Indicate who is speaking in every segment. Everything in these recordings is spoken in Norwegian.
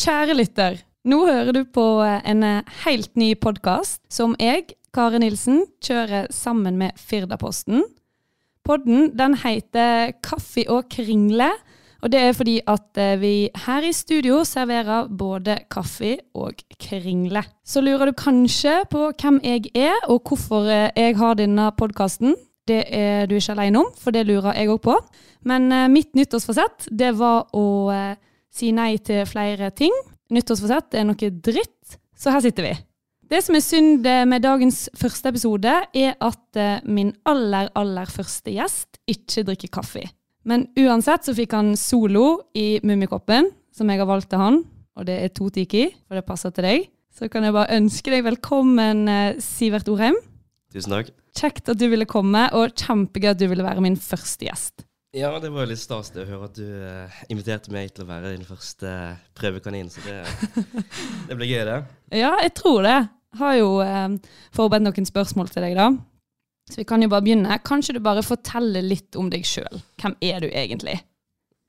Speaker 1: Kjære lytter, nå hører du på eh, en helt ny podkast som jeg, Kare Nilsen, kjører sammen med Firdaposten. Podden den heter Kaffe og kringle, og det er fordi at eh, vi her i studio serverer både kaffe og kringle. Så lurer du kanskje på hvem jeg er, og hvorfor eh, jeg har denne podkasten. Det er du ikke alene om, for det lurer jeg òg på. Men eh, mitt nyttårsforsett, det var å eh, si nei til flere ting. Nyttårsforsett er noe dritt, så her sitter vi. Det som er synd eh, med dagens første episode, er at eh, min aller, aller første gjest ikke drikker kaffe. Men uansett så fikk han solo i Mummikoppen, som jeg har valgt til han. Og det er to tiki, for det passer til deg. Så kan jeg bare ønske deg velkommen, eh, Sivert Orheim.
Speaker 2: Tusen takk.
Speaker 1: Kjekt at du ville komme, og kjempegøy at du ville være min første gjest.
Speaker 2: Ja, det var jo litt stas det å høre at du eh, inviterte meg til å være din første prøvekaninen, så det, det blir gøy, det.
Speaker 1: Ja, jeg tror det. Har jo eh, forberedt noen spørsmål til deg, da. Så vi kan jo bare begynne. Kanskje du bare forteller litt om deg sjøl. Hvem er du egentlig?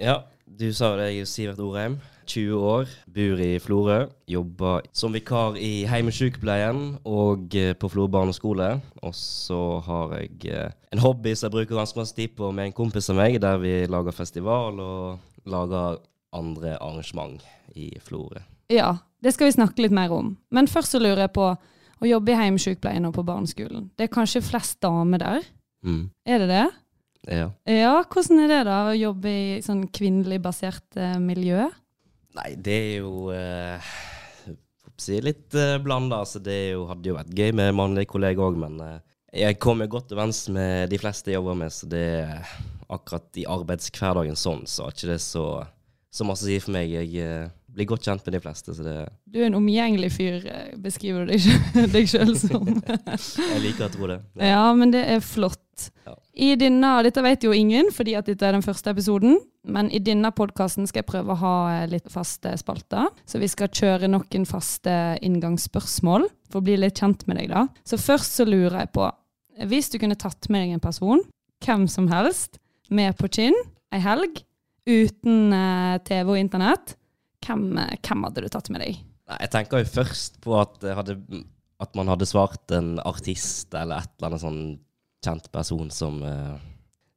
Speaker 2: Ja, du sa jo det. Jeg er Sivert Orheim, 20 år, bor i Florø. Jobber som vikar i hjemmesykepleien og eh, på Florø barneskole. Og så har jeg eh, en hobby som jeg bruker ganske masse tid på med en kompis av meg, der vi lager festival og lager andre arrangement i Florø.
Speaker 1: Ja, det skal vi snakke litt mer om. Men først så lurer jeg på å jobbe i heimsykepleien og på barneskolen. Det er kanskje flest damer der?
Speaker 2: Mm.
Speaker 1: Er det det?
Speaker 2: Ja.
Speaker 1: Ja, hvordan er det da å jobbe i sånn kvinnelig basert eh, miljø?
Speaker 2: Nei, det er jo eh, får si litt eh, blanda. Altså, det er jo, hadde jo vært gøy med mannlige kolleger òg, men eh, jeg kommer godt overens med de fleste jeg jobber med, så det er akkurat i arbeidshverdagen sånn, så har ikke det så, så masse å si for meg. Jeg eh, blir godt kjent med de fleste, så det,
Speaker 1: Du er en omgjengelig fyr, eh, beskriver du deg selv- deg sjøl som.
Speaker 2: jeg liker å tro det.
Speaker 1: Ja, men det er flott.
Speaker 2: Ja.
Speaker 1: I denne, dette vet jo ingen, fordi at dette er den første episoden, men i denne podkasten skal jeg prøve å ha eh, litt faste spalter. Så vi skal kjøre noen faste inngangsspørsmål for å bli litt kjent med deg, da. Så først så lurer jeg på, hvis du kunne tatt med deg en person, hvem som helst, med på kinn ei helg, uten eh, TV og internett, hvem, eh, hvem hadde du tatt med deg?
Speaker 2: Nei, jeg tenker jo først på at, jeg hadde, at man hadde svart en artist eller et eller annet sånn kjent person som, eh,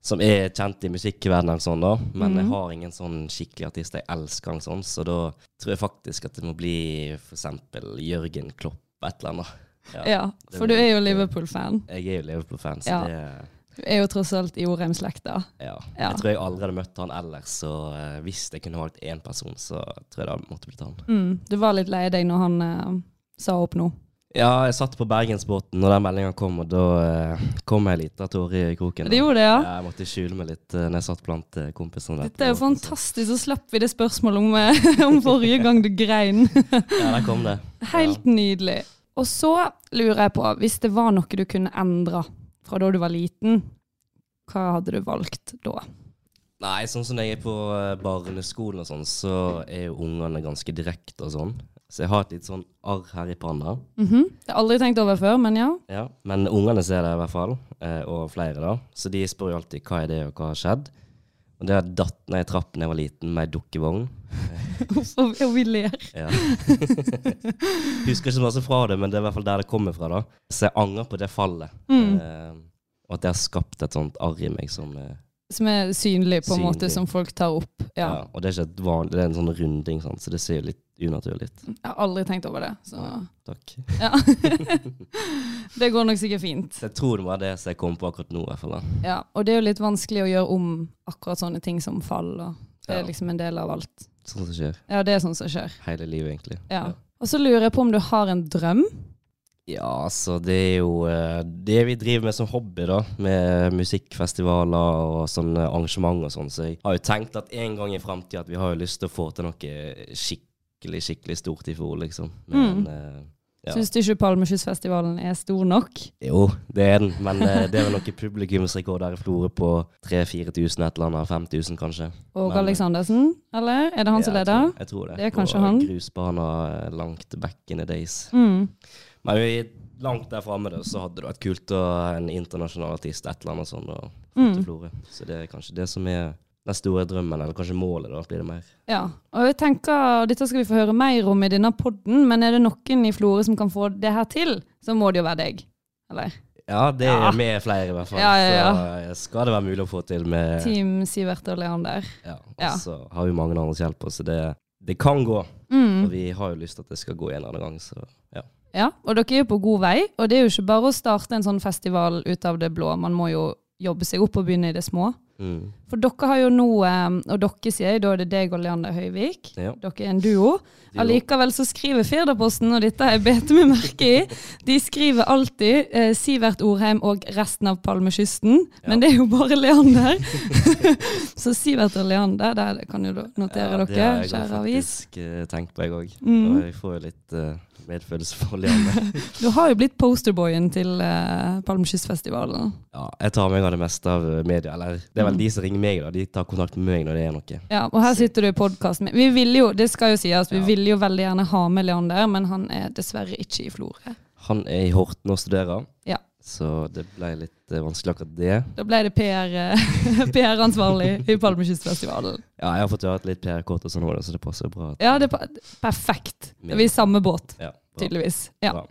Speaker 2: som er kjent i musikkverdenen eller sånn, da. Men jeg
Speaker 1: Mhm.
Speaker 2: har ingen sånn skikkelig artist jeg elsker, eller sånn, så da tror jeg faktisk at det må bli for eksempel Jørgen Klopp, et eller annet. Ja,
Speaker 1: Ja,
Speaker 2: det
Speaker 1: for
Speaker 2: blir
Speaker 1: du er jo
Speaker 2: litt, eh,
Speaker 1: Liverpool-fan.
Speaker 2: Jeg er jo Liverpool-fan, så
Speaker 1: Ja.
Speaker 2: det
Speaker 1: Du er jo tross alt i Orheim-slekta.
Speaker 2: ja.
Speaker 1: Ja.
Speaker 2: Jeg tror jeg aldri hadde møtt han ellers, så eh, hvis jeg kunne valgt én person, så tror jeg det hadde måtte blitt han.
Speaker 1: Mm, du var litt lei deg når han eh, sa opp nå.
Speaker 2: Ja, jeg satt på Bergensbåten når den meldinga kom, og da eh, kom jeg litt av tårer i kroken.
Speaker 1: Det gjorde det, ja.
Speaker 2: Jeg måtte skjule meg litt eh, når jeg satt blant eh, kompisene. der
Speaker 1: Dette er jo sånn.
Speaker 2: på båten, så-
Speaker 1: fantastisk, så slapp vi det spørsmålet om, eh, om forrige gang du grein.
Speaker 2: Ja, der kom det.
Speaker 1: Helt nydelig. Og så lurer jeg på, hvis det var noe du kunne endre fra da du var liten, hva hadde du valgt da?
Speaker 2: Nei, sånn som jeg er på eh, barneskolen og sånn, så er jo ungene ganske direkte og sånn. Så jeg har et litt sånn arr her i panna.
Speaker 1: Mhm. Det har jeg aldri tenkt over før, men ja.
Speaker 2: Ja. Men ungene ser det i hvert fall, eh, og flere da. Så de spør jo alltid hva er det, og hva har skjedd. Og det har datt ned i trappen da jeg var liten med ei dukkevogn.
Speaker 1: Og, og vi ler.
Speaker 2: Ja. Husker ikke så masse fra det, men det er i hvert fall der det kommer fra. da. Så jeg angrer på det fallet. Eh, og at det har skapt et sånt arr i meg som eh,
Speaker 1: Som er synlig, på en måte,
Speaker 2: Synlig.
Speaker 1: som folk tar opp.
Speaker 2: ja.
Speaker 1: Ja.
Speaker 2: Og det er ikke et vanlig, det er en sånn runding, sant? så det ser jo litt unaturlig ut.
Speaker 1: Jeg har aldri tenkt over det, så
Speaker 2: Takk.
Speaker 1: ja. det går nok sikkert fint.
Speaker 2: Så jeg tror det var det som jeg kom på akkurat nå, i hvert fall. da.
Speaker 1: Ja, og det er jo litt vanskelig å gjøre om akkurat sånne ting som fall. Og det er
Speaker 2: Ja.
Speaker 1: liksom en del av alt.
Speaker 2: Sånn som skjer
Speaker 1: Ja, det er sånn som skjer.
Speaker 2: hele livet, egentlig.
Speaker 1: Ja.
Speaker 2: Ja.
Speaker 1: Og så lurer jeg på om du har en drøm.
Speaker 2: Ja, altså det er jo eh, det vi driver med som hobby, da. Med musikkfestivaler og sånne arrangement og sånn. Så jeg har jo tenkt at en gang i framtida at vi har jo lyst til å få til noe skikkelig, skikkelig stort i fjor, liksom.
Speaker 1: Mm.
Speaker 2: Men eh, ja.
Speaker 1: Syns du ikke Palmeskyssfestivalen er stor nok?
Speaker 2: Jo, det er den. Men eh, det er vel noen publikumsrekorder i Florø på 3000-4000, et eller annet. 5000, kanskje.
Speaker 1: Åge
Speaker 2: Men-
Speaker 1: Aleksandersen, eller? Er det han som
Speaker 2: Ja, jeg
Speaker 1: leder?
Speaker 2: tror- Jeg tror det.
Speaker 1: Det er kanskje
Speaker 2: På
Speaker 1: han.
Speaker 2: Grusbana eh, langt back in the days.
Speaker 1: Mm.
Speaker 2: Men vi, langt der framme da, så hadde det vært
Speaker 1: Mm.
Speaker 2: kult å ha en internasjonal artist, et eller annet sånt, og få til Florø. Så det er kanskje det som er Den store drømmen, eller kanskje målet, da, blir det mer.
Speaker 1: Ja, og jeg tenker, Dette skal vi få høre mer om i denne podden, men er det noen i Florø som kan få det her til, så må det jo være deg. Eller
Speaker 2: Ja, det
Speaker 1: Ja.
Speaker 2: er med flere, i hvert fall.
Speaker 1: Ja, ja,
Speaker 2: Så eh, skal det være mulig å få til med
Speaker 1: Team Sivert og Leander.
Speaker 2: Ja. Og
Speaker 1: Ja.
Speaker 2: så har vi mange andres hjelp, så det, det kan gå.
Speaker 1: Mm.
Speaker 2: Og vi har jo lyst til at det skal gå en eller annen gang, så ja.
Speaker 1: Ja, og dere er jo på god vei, og det er jo ikke bare å starte en sånn festival ut av det blå. Man må jo jobbe seg opp og begynne i det små.
Speaker 2: Mm.
Speaker 1: For dere har jo nå, eh, og dere sier jeg, da er det deg og Leander Høyvik.
Speaker 2: Ja.
Speaker 1: Dere er en duo. Allikevel så skriver Firdaposten, og dette har jeg bet meg merke i, de skriver alltid eh, Sivert Orheim og resten av Palmekysten, men det er jo bare Leander. så Sivert og Leander, der kan jo da notere
Speaker 2: Ja,
Speaker 1: dere,
Speaker 2: Det har jeg
Speaker 1: kjære avis.
Speaker 2: faktisk eh, tenkt på, jeg òg.
Speaker 1: Mm.
Speaker 2: Og jeg får jo litt eh, medfølelse for Lianne.
Speaker 1: Du har jo blitt posterboyen til eh, Palmekystfestivalen.
Speaker 2: ja, jeg tar meg av det meste av eh, media. Eller det er vel de som ringer meg, da. De tar kontakt med meg når det er noe.
Speaker 1: Ja, og her sitter du i podkasten min. Vi ville jo, det skal jo sies, vi ville jo veldig gjerne ha med Leander, men han er dessverre ikke i Florø.
Speaker 2: Han er i Horten og studerer,
Speaker 1: Ja.
Speaker 2: så det ble litt eh, vanskelig akkurat det.
Speaker 1: Da ble det PR, PR-ansvarlig i Palmekystfestivalen.
Speaker 2: Ja, jeg har fått høre et litt PR-kort og sånn, også, så det passer bra. at-
Speaker 1: Ja, det er pa- perfekt. Vi er i samme båt,
Speaker 2: Ja, bra.
Speaker 1: tydeligvis. Ja.
Speaker 2: Bra.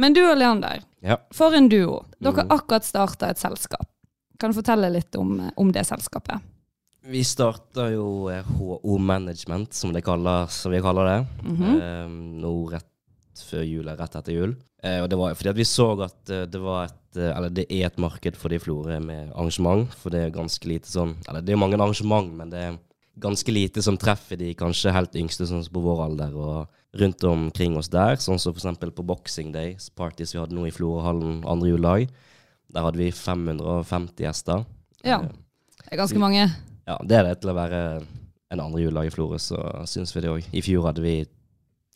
Speaker 1: Men du og Leander,
Speaker 2: Ja.
Speaker 1: for en duo. Dere
Speaker 2: Mm.
Speaker 1: har akkurat starta et selskap. Kan du fortelle litt om, eh, om det selskapet?
Speaker 2: Vi starta jo eh, HO Management, som, det kaller, som vi kaller det.
Speaker 1: Mhm.
Speaker 2: eh, nå rett før jul, eller rett etter jul. Eh, og det var fordi at vi så at eh, det var et eh, Eller det er et marked for de i Florø med arrangement, for det er ganske lite sånn Eller det er mange arrangement, men det er ganske lite som treffer de kanskje helt yngste, sånn som på vår alder, og rundt omkring oss der. Sånn som for eksempel på Boxing Day, parties vi hadde nå i Florøhallen andre juledag. Der hadde vi 550 gjester.
Speaker 1: Ja.
Speaker 2: Eh,
Speaker 1: Det er ganske mange.
Speaker 2: ja, det er det til å være en andre juledag i Florø, så syns vi det òg. I fjor hadde vi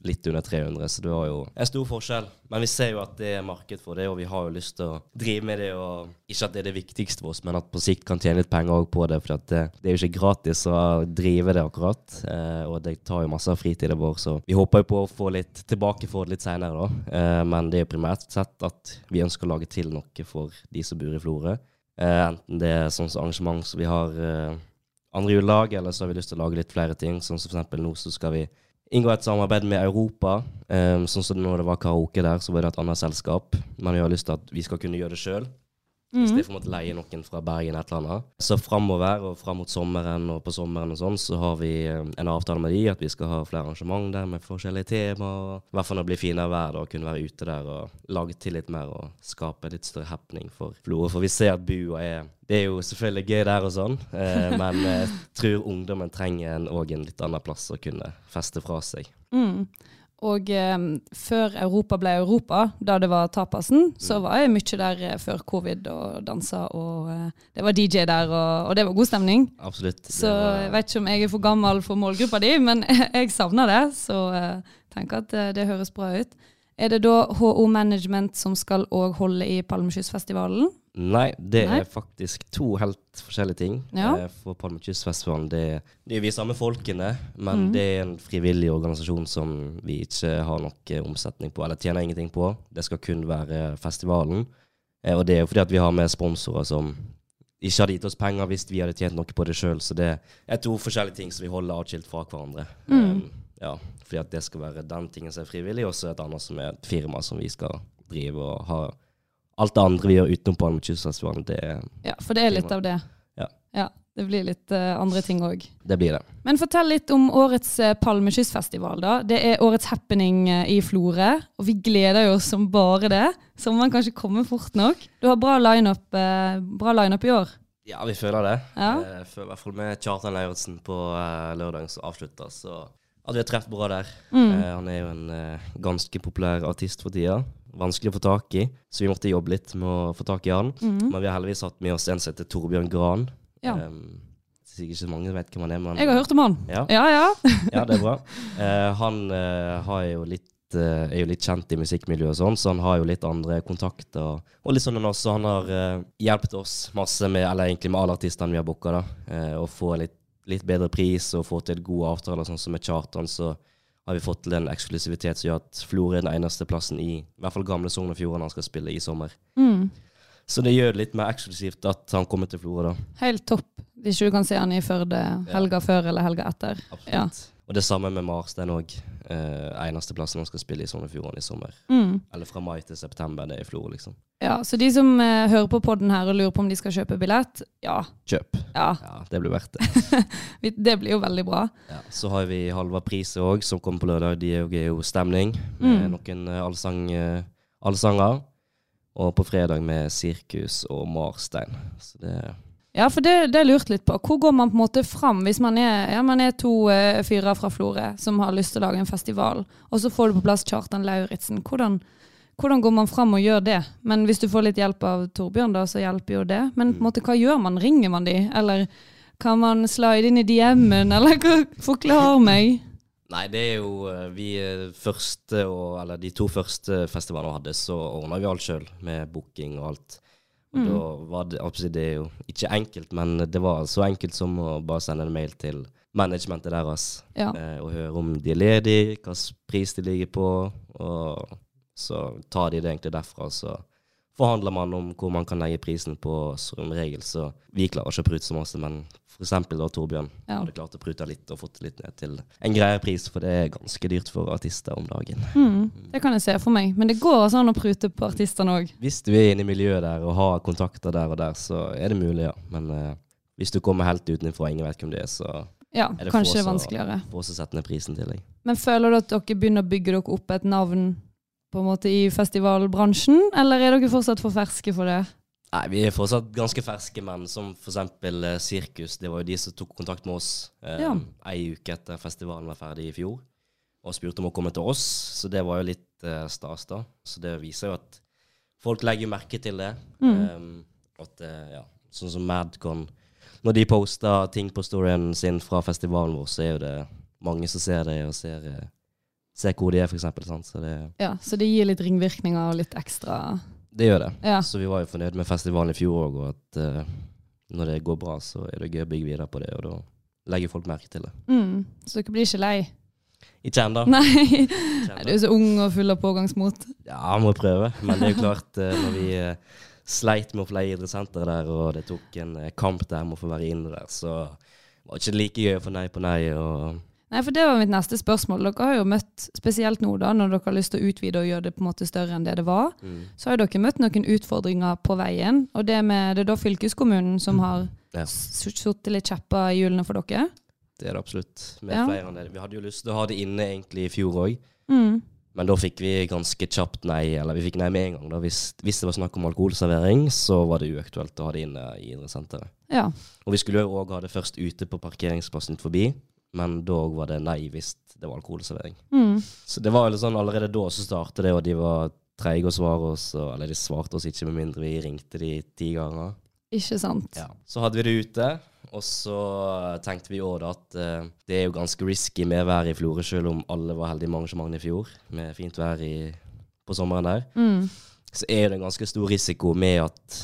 Speaker 2: litt under 300, så det var jo en stor forskjell. Men vi ser jo at det er marked for det, og vi har jo lyst til å drive med det. og Ikke at det er det viktigste for oss, men at på sikt kan tjene litt penger òg på det. For at det, det er jo ikke gratis å drive det akkurat, eh, og det tar jo masse av fritiden vår, så vi håper jo på å få litt tilbake for det litt seinere, da. Eh, men det er jo primært sett at vi ønsker å lage til noe for de som bor i Florø. Eh, enten det er sånn som arrangement som vi har eh, andre julelag, eller så har vi lyst til å lage litt flere ting. Sånn som for eksempel nå så skal vi inngå et samarbeid med Europa. Ehm, sånn som når det var karaoke der, så var det et annet selskap. Men vi har lyst til at vi skal kunne gjøre det sjøl. Hvis
Speaker 1: Mhm.
Speaker 2: det er for en måte leie noen fra Bergen et eller annet. Så framover og fram mot sommeren og på sommeren og sånn, så har vi eh, en avtale med de at vi skal ha flere arrangement der med forskjellige temaer. I hvert fall når det blir finere vær da, og kunne være ute der og lage til litt mer og skape litt større happening for Florø. For vi ser at bua er Det er jo selvfølgelig gøy der og sånn, eh, men jeg tror ungdommen trenger en, og en litt annen plass å kunne feste fra seg.
Speaker 1: Mm. Og eh, før Europa ble Europa, da det var tapasen, så
Speaker 2: Mm.
Speaker 1: var jeg mye der eh, før covid og dansa, og eh, det var DJ der, og, og det var god stemning.
Speaker 2: Absolutt. Det
Speaker 1: Så
Speaker 2: var-
Speaker 1: jeg vet ikke om jeg er for gammel for målgruppa di, men jeg savner det, så eh, tenker at eh, det høres bra ut. Er det da HO Management som skal òg holde i Palmekystfestivalen?
Speaker 2: Nei, det
Speaker 1: Nei?
Speaker 2: er faktisk to helt forskjellige ting.
Speaker 1: Ja.
Speaker 2: Eh, For Palmekystfestivalen, det, det er vi samme folkene, men
Speaker 1: Mhm.
Speaker 2: det er en frivillig organisasjon som vi ikke har nok eh, omsetning på, eller tjener ingenting på. Det skal kun være festivalen. Eh, Og det er jo fordi at vi har med sponsorer som ikke hadde gitt oss penger hvis vi hadde tjent noe på det sjøl, så det er to forskjellige ting som vi holder atskilt fra hverandre.
Speaker 1: Mhm.
Speaker 2: Eh, Ja, fordi at det skal være den tingen som er frivillig, og så et annet som er et firma som vi skal drive og ha alt det andre vi gjør utenom Palmekystfestivalen, det,
Speaker 1: Ja, for det er litt av det.
Speaker 2: Ja.
Speaker 1: det blir litt eh, andre ting òg.
Speaker 2: det blir det.
Speaker 1: Men fortell litt om årets eh, Palmekystfestival. da. Det er årets happening eh, i Florø, og vi gleder jo oss som bare det. Sommeren kan ikke komme fort nok. Du har bra lineup eh, bra lineup i år.
Speaker 2: Ja, vi føler det. Eh,
Speaker 1: Ja.
Speaker 2: Jeg føler i hvert fall med Kjartan Lauritzen på eh, lørdagen som avslutter, så at vi har truffet bra der.
Speaker 1: Mm.
Speaker 2: Eh, han er jo en eh, ganske populær artist for tida. Vanskelig å få tak i, så vi måtte jobbe litt med å få tak i han. Men vi har heldigvis hatt med oss en som heter Torbjørn Gran.
Speaker 1: Mm. Ja.
Speaker 2: Eh, sikkert ikke så mange vet hvem han er, men
Speaker 1: Jeg har hørt om han.
Speaker 2: Ja.
Speaker 1: Ja, ja.
Speaker 2: Ja, det er bra. Eh, han eh, har jo litt eh, er jo litt kjent i musikkmiljøet, og sånn, så han har jo litt andre kontakter. Og litt sånn han også, han har eh, hjulpet oss masse med eller egentlig med alle artistene vi har booka. da, eh, Å få litt, litt bedre pris og få til gode avtaler, sånn som med Chartan. Så har vi fått til en eksklusivitet som gjør at Florø er den eneste plassen i i hvert fall gamle Sogn og Fjordane han skal spille i sommer.
Speaker 1: Mm.
Speaker 2: Så det gjør det litt mer eksklusivt at han kommer til Florø, da.
Speaker 1: Helt topp. Hvis ikke du kan se han i Førde helga før eller helga etter. Ja.
Speaker 2: Absolutt. Og det samme med Mars, den òg. Eh, eneste plassen han skal spille i Sognefjorden i sommer.
Speaker 1: Mm.
Speaker 2: Eller fra mai til september, det er i Flor, liksom.
Speaker 1: Ja, Så de som eh, hører på podden her og lurer på om de skal kjøpe billett, ja.
Speaker 2: Kjøp.
Speaker 1: ja
Speaker 2: Ja, det blir verdt det.
Speaker 1: vi- det blir jo veldig bra.
Speaker 2: Ja. Så har vi Halva Prise òg, som kommer på lørdag. De er jo- er jo stemning med
Speaker 1: Mm.
Speaker 2: noen eh, allsang, eh, allsanger. Og på fredag med Sirkus og Marstein. Så det
Speaker 1: Ja, for det, det er lurt litt på. Hvor går man på en måte fram hvis man er, ja, man er to eh, fyrer fra Florø som har lyst til å lage en festival, og så får du på plass Kjartan Lauritzen. Hvordan, hvordan går man fram og gjør det? Men hvis du får litt hjelp av Torbjørn, da, så hjelper jo det. Men
Speaker 2: Mm.
Speaker 1: på en måte, hva gjør man? Ringer man de? Eller kan man slide inn i DM-en? Eller hva- forklar meg.
Speaker 2: Nei, det er jo eh, vi eh, første, og, eller de to første festivalene vi hadde, så ordna vi alt sjøl med booking og alt. Og da var det, absolutt, det er jo ikke enkelt, men det var så enkelt som å bare sende en mail til managementet deres
Speaker 1: Ja.
Speaker 2: eh, og høre om de er ledige, hva slags pris de ligger på, og så tar de det egentlig derfra. Så forhandler man om hvor man kan legge prisen på, som regel. Så vi klarer ikke å prute så masse, men for eksempel da Torbjørn
Speaker 1: Ja.
Speaker 2: hadde klart å prute litt og fått litt ned til en greiere pris, for det er ganske dyrt for artister om dagen.
Speaker 1: Mm, det kan jeg se for meg. Men det går altså an å prute på artistene òg.
Speaker 2: Hvis du er inne i miljøet der og har kontakter der og der, så er det mulig, ja. Men eh, hvis du kommer helt utenfra og ingen vet hvem det er, så
Speaker 1: Ja,
Speaker 2: Er det få
Speaker 1: kanskje det er
Speaker 2: som-
Speaker 1: vanskeligere.
Speaker 2: får også sette ned prisen til deg.
Speaker 1: Men føler du at dere begynner å bygge dere opp et navn på en måte i festivalbransjen, eller er dere fortsatt for ferske for det?
Speaker 2: Nei, vi er fortsatt ganske ferske menn, som for eksempel eh, Sirkus. Det var jo de som tok kontakt med oss eh,
Speaker 1: Ja.
Speaker 2: ei uke etter festivalen var ferdig i fjor, og spurte om å komme til oss. Så det var jo litt eh, stas, da. Så det viser jo at folk legger jo merke til det. Um, at, eh, ja, sånn som Madcon. Når de poster ting på storyen sin fra festivalen vår, så er jo det mange som ser det, og ser, eh, ser hvor de er, for eksempel. Sant? Så det,
Speaker 1: Ja, Så det gir litt ringvirkninger og litt ekstra
Speaker 2: det gjør det.
Speaker 1: Ja.
Speaker 2: Så vi var jo fornøyd med festivalen i fjor òg, og at eh, når det går bra, så er det gøy å bygge videre på det, og da legger folk merke til det.
Speaker 1: Mm, så dere blir ikke lei?
Speaker 2: Ikke ennå.
Speaker 1: Nei, Nei du er så ung og full av pågangsmot.
Speaker 2: Ja, må prøve. Men det er jo klart, eh, når vi eh, sleit med å få leie idrettssenter der, og det tok en eh, kamp der med å få være inne der, så var det ikke like gøy å få nei på nei. og...
Speaker 1: Nei, for det var mitt neste spørsmål. Dere har jo møtt, spesielt nå da, når dere har lyst til å utvide og gjøre det på en måte større enn det det var,
Speaker 2: Mm.
Speaker 1: så har jo dere møtt noen utfordringer på veien. Og det, med, det er da fylkeskommunen som har
Speaker 2: Ja.
Speaker 1: s- suttet litt kjepper i hjulene for dere.
Speaker 2: Det er det absolutt. Med
Speaker 1: Ja.
Speaker 2: flere enn det. Vi hadde jo lyst til å ha det inne egentlig i fjor òg,
Speaker 1: Mm.
Speaker 2: men da fikk vi ganske kjapt nei. Eller vi fikk nei med en gang. da. Hvis, hvis det var snakk om alkoholservering, så var det uaktuelt å ha det inne i idrettssenteret.
Speaker 1: Ja.
Speaker 2: Og vi skulle jo òg ha det først ute på parkeringsplassen ut forbi, men dog var det nei hvis det var alkoholservering.
Speaker 1: Mm.
Speaker 2: Så det var jo sånn allerede da så startet det, og de var treige å svare oss, og, eller de svarte oss ikke med mindre vi ringte de ti ganger.
Speaker 1: Ikke sant?
Speaker 2: Så hadde vi det ute, og så tenkte vi òg da at eh, det er jo ganske risky med været i Florø, selv om alle var heldige med arrangementet i fjor, med fint vær i, på sommeren der
Speaker 1: Mm.
Speaker 2: så er det en ganske stor risiko med at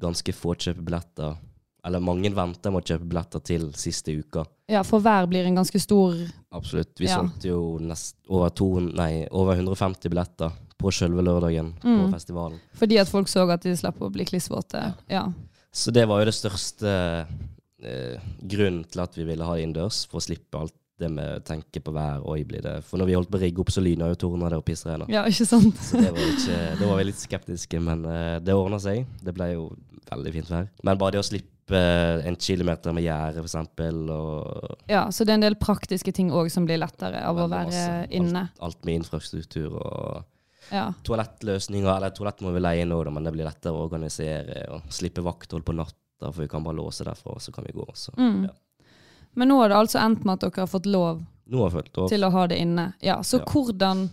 Speaker 2: ganske få kjøper billetter, eller mange venter med å kjøpe billetter til siste uka.
Speaker 1: Ja, for hver blir en ganske stor
Speaker 2: Absolutt. Vi
Speaker 1: Ja.
Speaker 2: solgte jo nest, over, to, nei, over 150 billetter på selve lørdagen på
Speaker 1: Mm.
Speaker 2: festivalen.
Speaker 1: Fordi at folk så at de slapp å bli klissvåte. Ja.
Speaker 2: Så det var jo det største eh, grunnen til at vi ville ha det innendørs, for å slippe alt det med å tenke på vær. Oi, blir det. For når vi holdt på å rigge opp, så lyna jo tårna der og pissregna.
Speaker 1: ja, ikke sant?
Speaker 2: Så det var, ikke, det var vi litt skeptiske, men eh, det ordna seg. Det ble jo veldig fint vær. Men bare det å slippe eh, en kilometer med gjerde, f.eks., og
Speaker 1: Ja, Så det er en del praktiske ting òg som blir lettere av å
Speaker 2: Veldig
Speaker 1: være
Speaker 2: masse. Alt-
Speaker 1: inne.
Speaker 2: alt med infrastruktur og
Speaker 1: Ja.
Speaker 2: toalettløsninger Eller toalett må vi leie inn òg, da, men det blir lettere å organisere og slippe vakthold på natta, for vi kan bare låse derfra, og så kan vi gå. Så.
Speaker 1: Mm.
Speaker 2: Ja.
Speaker 1: Men nå har det altså endt med at dere har fått lov
Speaker 2: Nå har jeg følt opp.
Speaker 1: til å ha det inne. Ja, Så
Speaker 2: Ja.
Speaker 1: hvordan,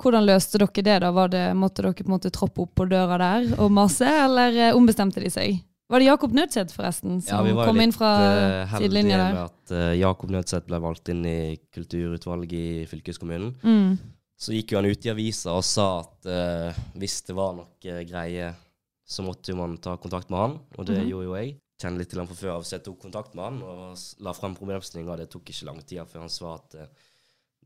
Speaker 1: hvordan løste dere det? da? Var det, måtte dere på en måte troppe opp på døra der og mase, eller eh, ombestemte de seg? Var det Jakob Nødseth forresten
Speaker 2: Ja,
Speaker 1: som
Speaker 2: vi var jo
Speaker 1: kom inn
Speaker 2: litt
Speaker 1: fra
Speaker 2: eh, heldige
Speaker 1: sidelinja
Speaker 2: med
Speaker 1: der?
Speaker 2: at eh, Jakob Nødseth ble valgt inn i kulturutvalget i fylkeskommunen.
Speaker 1: Mm.
Speaker 2: så gikk jo han ut i avisa og sa at eh, hvis det var noe eh, greie, så måtte jo man ta kontakt med han, og det
Speaker 1: Mhm.
Speaker 2: gjorde jo jeg. Kjenner litt til han fra før av, så jeg tok kontakt med han og s- la frem problemstillinga. Det tok ikke lang tid før han svarte at eh,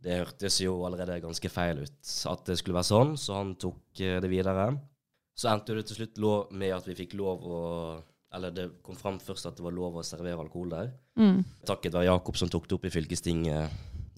Speaker 2: det hørtes jo allerede ganske feil ut at det skulle være sånn, så han tok eh, det videre. Så endte det til slutt lov med at vi fikk lov å Eller det kom fram først at det var lov å servere alkohol der.
Speaker 1: Mm.
Speaker 2: Takket være Jakob som tok det opp i fylkestinget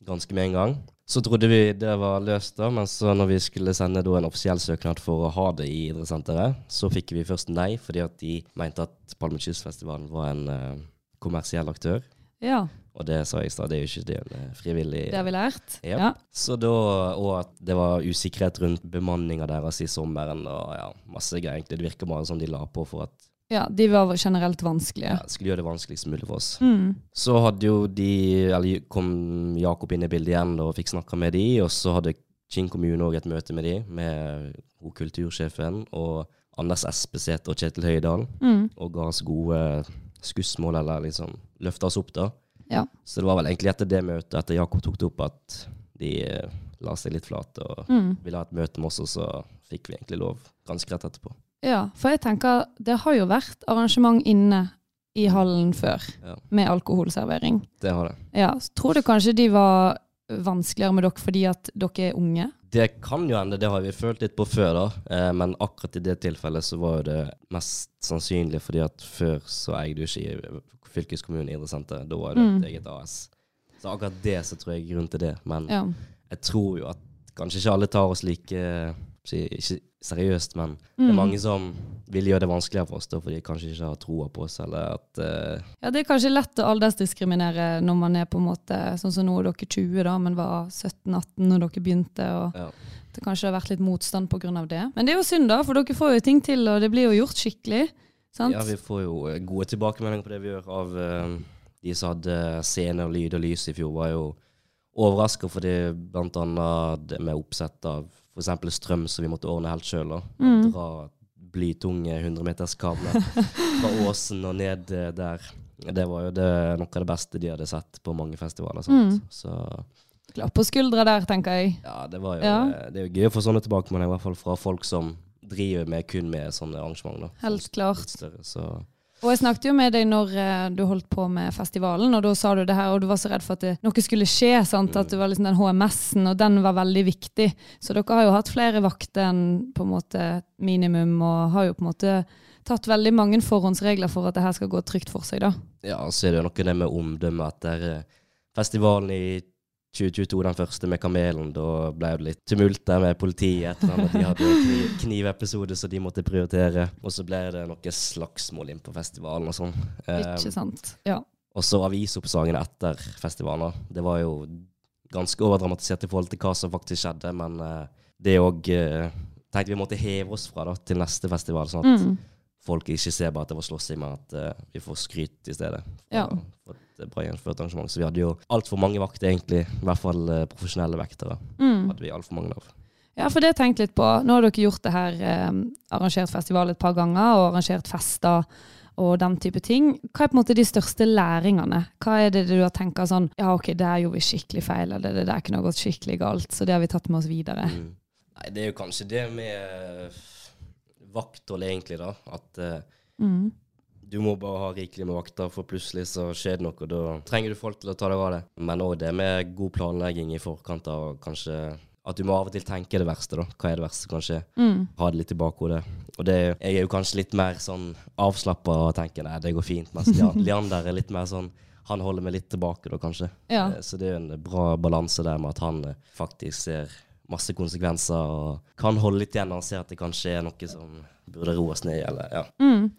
Speaker 2: ganske med en gang. Så trodde vi det var løst, da, men så når vi skulle sende da en offisiell søknad for å ha det i idrettssenteret, så fikk vi først nei, fordi at de mente at Palmekystfestivalen var en eh, kommersiell aktør.
Speaker 1: Ja,
Speaker 2: Og det sa jeg i stad, det er jo ikke det en eh, frivillig
Speaker 1: det har vi lært.
Speaker 2: Ja.
Speaker 1: Ja.
Speaker 2: Så da, Og at det var usikkerhet rundt bemanninga deres i sommeren og ja, masse greier. egentlig. Det virker bare som de la på for at
Speaker 1: ja, de var generelt vanskelige.
Speaker 2: ja, skulle gjøre det vanskeligst mulig for oss.
Speaker 1: Mm.
Speaker 2: Så hadde jo de, eller kom Jakob inn i bildet igjen og fikk snakka med de, og så hadde Kinn kommune òg et møte med de, med hun kultursjefen og Anders Espeseth og Kjetil Høydahl,
Speaker 1: Mm.
Speaker 2: og ga oss gode skussmål, eller liksom løfta oss opp, da.
Speaker 1: Ja.
Speaker 2: Så det var vel egentlig etter det møtet, etter Jakob tok det opp, at de eh, la seg litt flate og
Speaker 1: Mm.
Speaker 2: ville ha et møte med oss, og så fikk vi egentlig lov ganske rett etterpå.
Speaker 1: ja, for jeg tenker det har jo vært arrangement inne i hallen før
Speaker 2: Ja.
Speaker 1: med alkoholservering.
Speaker 2: Det har det.
Speaker 1: Ja, så tror du kanskje de var vanskeligere med dere fordi at dere er unge?
Speaker 2: Det kan jo hende, det har vi følt litt på før, da. Eh, men akkurat i det tilfellet så var jo det mest sannsynlig fordi at før så eide jo ikke fylkeskommunen idrettssenter. Da var det et
Speaker 1: Mm.
Speaker 2: eget AS. Så akkurat det så tror jeg er grunnen til det. Men
Speaker 1: Ja.
Speaker 2: jeg tror jo at kanskje ikke alle tar oss like eh, si- ikke seriøst, men
Speaker 1: Mm.
Speaker 2: det er mange som vil gjøre det vanskeligere for oss da, fordi de kanskje ikke har troa på oss, eller at eh,
Speaker 1: ja, det er kanskje lett å aldersdiskriminere når man er på en måte sånn som nå er dere 20 da, men var 17-18 når dere begynte, og
Speaker 2: Ja.
Speaker 1: det kanskje har vært litt motstand på grunn av det. Men det er jo synd da, for dere får jo ting til, og det blir jo gjort skikkelig, sant?
Speaker 2: Ja, vi får jo eh, gode tilbakemeldinger på det vi gjør av eh, de som hadde scene og lyd og lys i fjor, var jo overraska for det blant annet det med oppsett av f.eks. strøm som vi måtte ordne helt sjøl.
Speaker 1: Mm.
Speaker 2: Dra blytunge 100-meterskabler fra åsen og ned eh, der. Det var jo det, noe av det beste de hadde sett på mange festivaler.
Speaker 1: Mm.
Speaker 2: Sant? Så
Speaker 1: Klapp på skuldra der, tenker jeg.
Speaker 2: ja, det var jo
Speaker 1: Ja.
Speaker 2: eh, Det er jo gøy å få sånne tilbakemeldinger, i hvert fall fra folk som driver med kun med sånne arrangement. Da.
Speaker 1: Helt klart.
Speaker 2: Litt større, så
Speaker 1: Og jeg snakket jo med deg når eh, du holdt på med festivalen, og da sa du det her, og du var så redd for at det, noe skulle skje, sant? at det var liksom den HMS-en, og den var veldig viktig. Så dere har jo hatt flere vakter enn på en måte minimum, og har jo på en måte tatt veldig mange forhåndsregler for at det her skal gå trygt for seg, da.
Speaker 2: Ja, så er det jo noe det med omdømme etter eh, festivalen i 2022, den første med Kamelen, da ble det litt tumult der med politiet etter at de hadde en kniv, knivepisode som de måtte prioritere. Og så ble det noe slagsmål inn på festivalen og sånn. Eh,
Speaker 1: Ikke sant? Ja.
Speaker 2: og så avisoppsagene etter festivalen. da. Det var jo ganske overdramatisert i forhold til hva som faktisk skjedde, men eh, det òg tenkte vi måtte heve oss fra da, til neste festival, sånn at
Speaker 1: Mm.
Speaker 2: folk ikke ser bare at det var slåssing, men at eh, vi får skryt i stedet. For,
Speaker 1: Ja.
Speaker 2: for et eh, bra gjennomført arrangement. Så vi hadde jo altfor mange vakter, egentlig. I hvert fall eh, profesjonelle vektere
Speaker 1: Mm.
Speaker 2: hadde vi altfor mange av.
Speaker 1: Ja, for det har jeg tenkt litt på. Nå har dere gjort det her, eh, arrangert festival et par ganger, og arrangert fester og den type ting. Hva er på en måte de største læringene? Hva er det du har tenkt sånn, ja ok, der gjorde vi skikkelig feil, eller det der kunne ha gått skikkelig galt, så det har vi tatt med oss videre.
Speaker 2: Mm. Nei, det er jo kanskje det med eh, vakthold, egentlig, da. At eh,
Speaker 1: Mm.
Speaker 2: du må bare ha rikelig med vakter, for plutselig så skjer det noe, og da trenger du folk til å ta deg av det. Men òg det med god planlegging i forkant av kanskje at du må av og til tenke det verste, da. Hva er det verste som kan skje?
Speaker 1: Mm.
Speaker 2: ha det litt i bakhodet. Og det, jeg er jo kanskje litt mer sånn avslappa og tenker nei, det går fint, mens Lian- Leander er litt mer sånn han holder meg litt tilbake, da, kanskje.
Speaker 1: Ja.
Speaker 2: Eh, Så det er jo en bra balanse der med at han eh, faktisk ser masse konsekvenser og kan holde litt igjen når han ser at det kanskje er noe som burde roes ned, eller ja.
Speaker 1: Mm.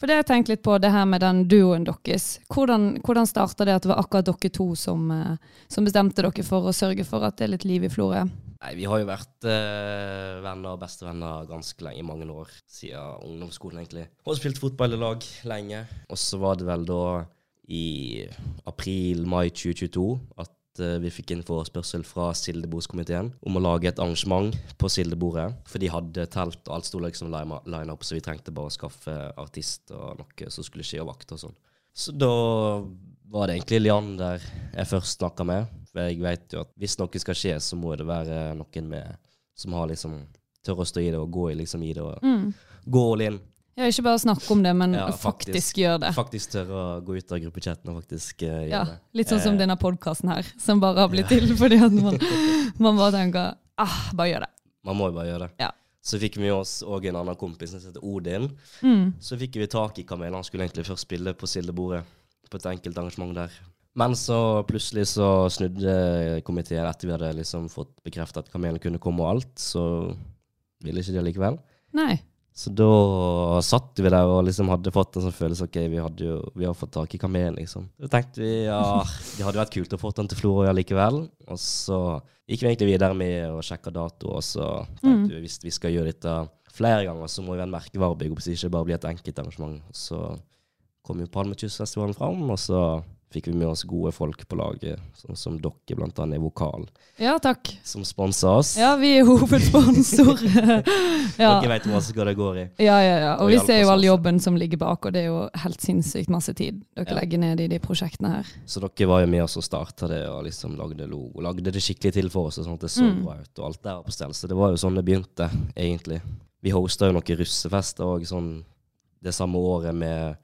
Speaker 1: For det har jeg tenkt litt på, det her med den duoen deres. Hvordan, hvordan starta det at det var akkurat dere to som, eh, som bestemte dere for å sørge for at det er litt liv i Florø?
Speaker 2: Nei, vi har jo vært eh, venner og bestevenner ganske lenge, i mange år, siden ungdomsskolen egentlig. Og spilt fotball i lag lenge. Og så var det vel da i april-mai 2022 at eh, vi fikk en forespørsel fra Sildebordskomiteen om å lage et arrangement på Sildebordet. For de hadde telt, og alt sto liksom lina lina opp, så vi trengte bare å skaffe artist og noe som skulle skje, og vakt og sånn. Så da var det egentlig Leander jeg først snakka med. For jeg vet jo at hvis noe skal skje, så må det være noen med som har liksom tør å stå i det og gå i, liksom i det og
Speaker 1: Mm.
Speaker 2: gå all in.
Speaker 1: Ja, ikke bare snakke om det, men
Speaker 2: Ja,
Speaker 1: faktisk.
Speaker 2: faktisk.
Speaker 1: gjøre det.
Speaker 2: Faktisk tør å gå ut av gruppechatten og faktisk eh, gjøre
Speaker 1: Ja,
Speaker 2: det.
Speaker 1: litt sånn som
Speaker 2: Eh,
Speaker 1: denne podkasten her, som bare har blitt til fordi at man, man bare tenker ah, bare gjør det.
Speaker 2: Man må jo bare gjøre det.
Speaker 1: Ja.
Speaker 2: Så fikk vi oss òg en annen kompis som heter Odin.
Speaker 1: Mm.
Speaker 2: Så fikk vi tak i Kamel. Han skulle egentlig først spille på Sildebordet, på et enkelt arrangement der. Men så plutselig så snudde komiteen etter vi hadde liksom fått bekreftet at Kamelen kunne komme og alt, så ville ikke de likevel.
Speaker 1: Nei.
Speaker 2: Så da satt vi der og liksom hadde fått en sånn følelse ok, vi, hadde jo, vi har fått tak i kamelen, liksom. Da tenkte vi ja, det hadde vært kult å få den til Florøya likevel. Og så gikk vi egentlig videre med å sjekke dato, og så
Speaker 1: Mm.
Speaker 2: tenkte vi hvis vi skal gjøre dette flere ganger, så må vi ha en merkevarebygg, så det ikke bare blir et enkelt arrangement. Så kom jo Palmekystfestivalen fram, og så fikk vi med oss gode folk på laget, sånn som dere blant annet i vokal,
Speaker 1: Ja, takk.
Speaker 2: som sponsa oss.
Speaker 1: Ja, vi er hovedsponsor. ja.
Speaker 2: Dere vet jo også hva det går i.
Speaker 1: Ja, ja, ja. Og
Speaker 2: Og
Speaker 1: vi
Speaker 2: hjelp
Speaker 1: ser
Speaker 2: oss
Speaker 1: jo all
Speaker 2: også.
Speaker 1: jobben som ligger bak, og det er jo helt sinnssykt masse tid dere
Speaker 2: Ja.
Speaker 1: legger ned i de prosjektene her.
Speaker 2: Så dere var jo med oss og starta det og liksom lagde logo. Lagde det skikkelig til for oss, og sånn at det så
Speaker 1: Mm.
Speaker 2: bra ut. og alt der var på stell. Så det var jo sånn det begynte, egentlig. Vi hosta jo noen russefester òg sånn det samme året med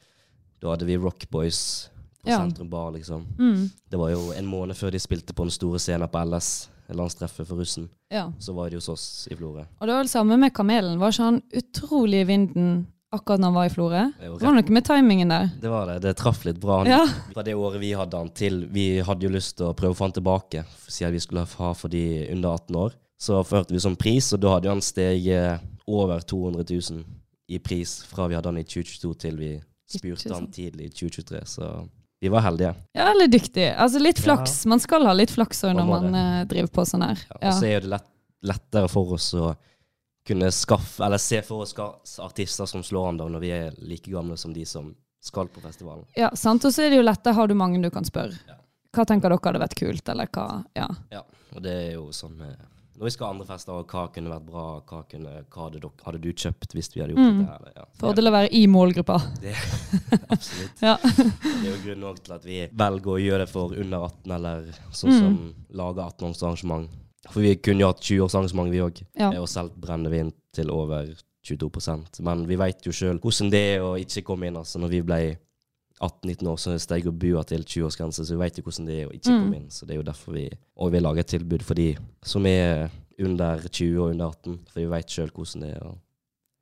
Speaker 2: Da hadde vi Rock Boys på
Speaker 1: Ja. Mm.
Speaker 2: Sentrum Bar, liksom. Det var jo en måned før de spilte på den store scenen på LS, landstreffet for russen.
Speaker 1: Ja.
Speaker 2: Så var det hos oss i Florø.
Speaker 1: Og det var det samme med Kamelen. Var ikke han utrolig i vinden akkurat når han var i Florø?
Speaker 2: Det er jo
Speaker 1: Det var noe med timingen der.
Speaker 2: Det var det. Det traff litt bra. Han,
Speaker 1: Ja.
Speaker 2: Fra det året vi hadde han til Vi hadde jo lyst til å prøve å få han tilbake, siden vi skulle ha for de under 18 år. Så førte vi som pris, og da hadde jo han steget over 200 000 i pris fra vi hadde han i 2022 til vi spurte han tidlig i 2023. Så vi var heldige.
Speaker 1: Ja, eller dyktig. Altså litt flaks. Man skal ha litt flaks også når
Speaker 2: Man må
Speaker 1: man eh, driver på sånn her.
Speaker 2: Ja, og
Speaker 1: Ja.
Speaker 2: så er jo det lett, lettere for oss å kunne skaffe, eller se for oss ska- artister som slår an da, når vi er like gamle som de som skal på festivalen.
Speaker 1: ja, sant. Og så er det jo lette. Har du mange du kan spørre?
Speaker 2: Ja.
Speaker 1: Hva tenker dere hadde vært kult, eller hva? Ja.
Speaker 2: Ja, og det er jo sånn eh, Når vi skal ha andre fester, og hva kunne vært bra, hva, kunne, hva hadde, dere, hadde du kjøpt hvis vi hadde gjort
Speaker 1: Mm.
Speaker 2: dette her? eller- Ja.
Speaker 1: Fordel å være i målgruppa.
Speaker 2: Absolutt.
Speaker 1: Ja.
Speaker 2: Det er jo grunnen også til at vi velger å gjøre det for under 18, eller sånn som lager 18-årsarrangement. For vi kunne jo hatt 20-årsarrangement, vi òg,
Speaker 1: Ja.
Speaker 2: og solgt brennevin til over 22 Men vi veit jo sjøl hvordan det er å ikke komme inn. altså Når vi ble 18-19 år, så steg jo bua til 20-årsgrense, så vi veit jo hvordan det er å ikke
Speaker 1: Mm.
Speaker 2: komme inn. Så det er jo derfor vi Og vi lager et tilbud for de som er under 20 og under 18, for vi veit sjøl hvordan det er. å-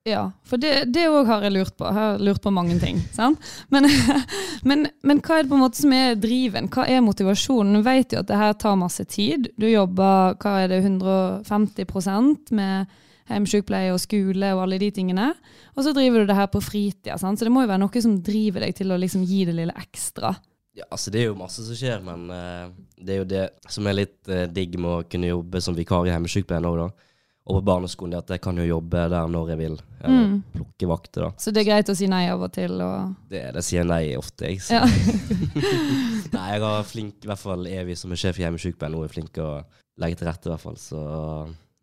Speaker 1: Ja, for det det òg har jeg lurt på. Jeg har lurt på mange ting. sant? Men, men, men hva er det på en måte som er driven? Hva er motivasjonen? Du vet jo at det her tar masse tid. Du jobber hva er det, 150 med hjemmesykepleie og skole og alle de tingene. Og så driver du det her på fritida, sant? så det må jo være noe som driver deg til å liksom gi det lille ekstra.
Speaker 2: Ja, altså Det er jo masse som skjer, men eh, det er jo det som er litt eh, digg med å kunne jobbe som vikar i hjemmesykepleien òg, da. Og på barneskolen, det at jeg kan jo jobbe der når jeg vil. Eller
Speaker 1: Mm.
Speaker 2: plukke vakter, da.
Speaker 1: Så det er greit å si nei av og til. Og,
Speaker 2: Det, det sier jeg nei ofte, jeg. Så.
Speaker 1: ja.
Speaker 2: Nei, jeg har flink, i hvert fall Evy som er sjef i hjemmesykepleien, hun er flink til å legge til rette, i hvert fall. Så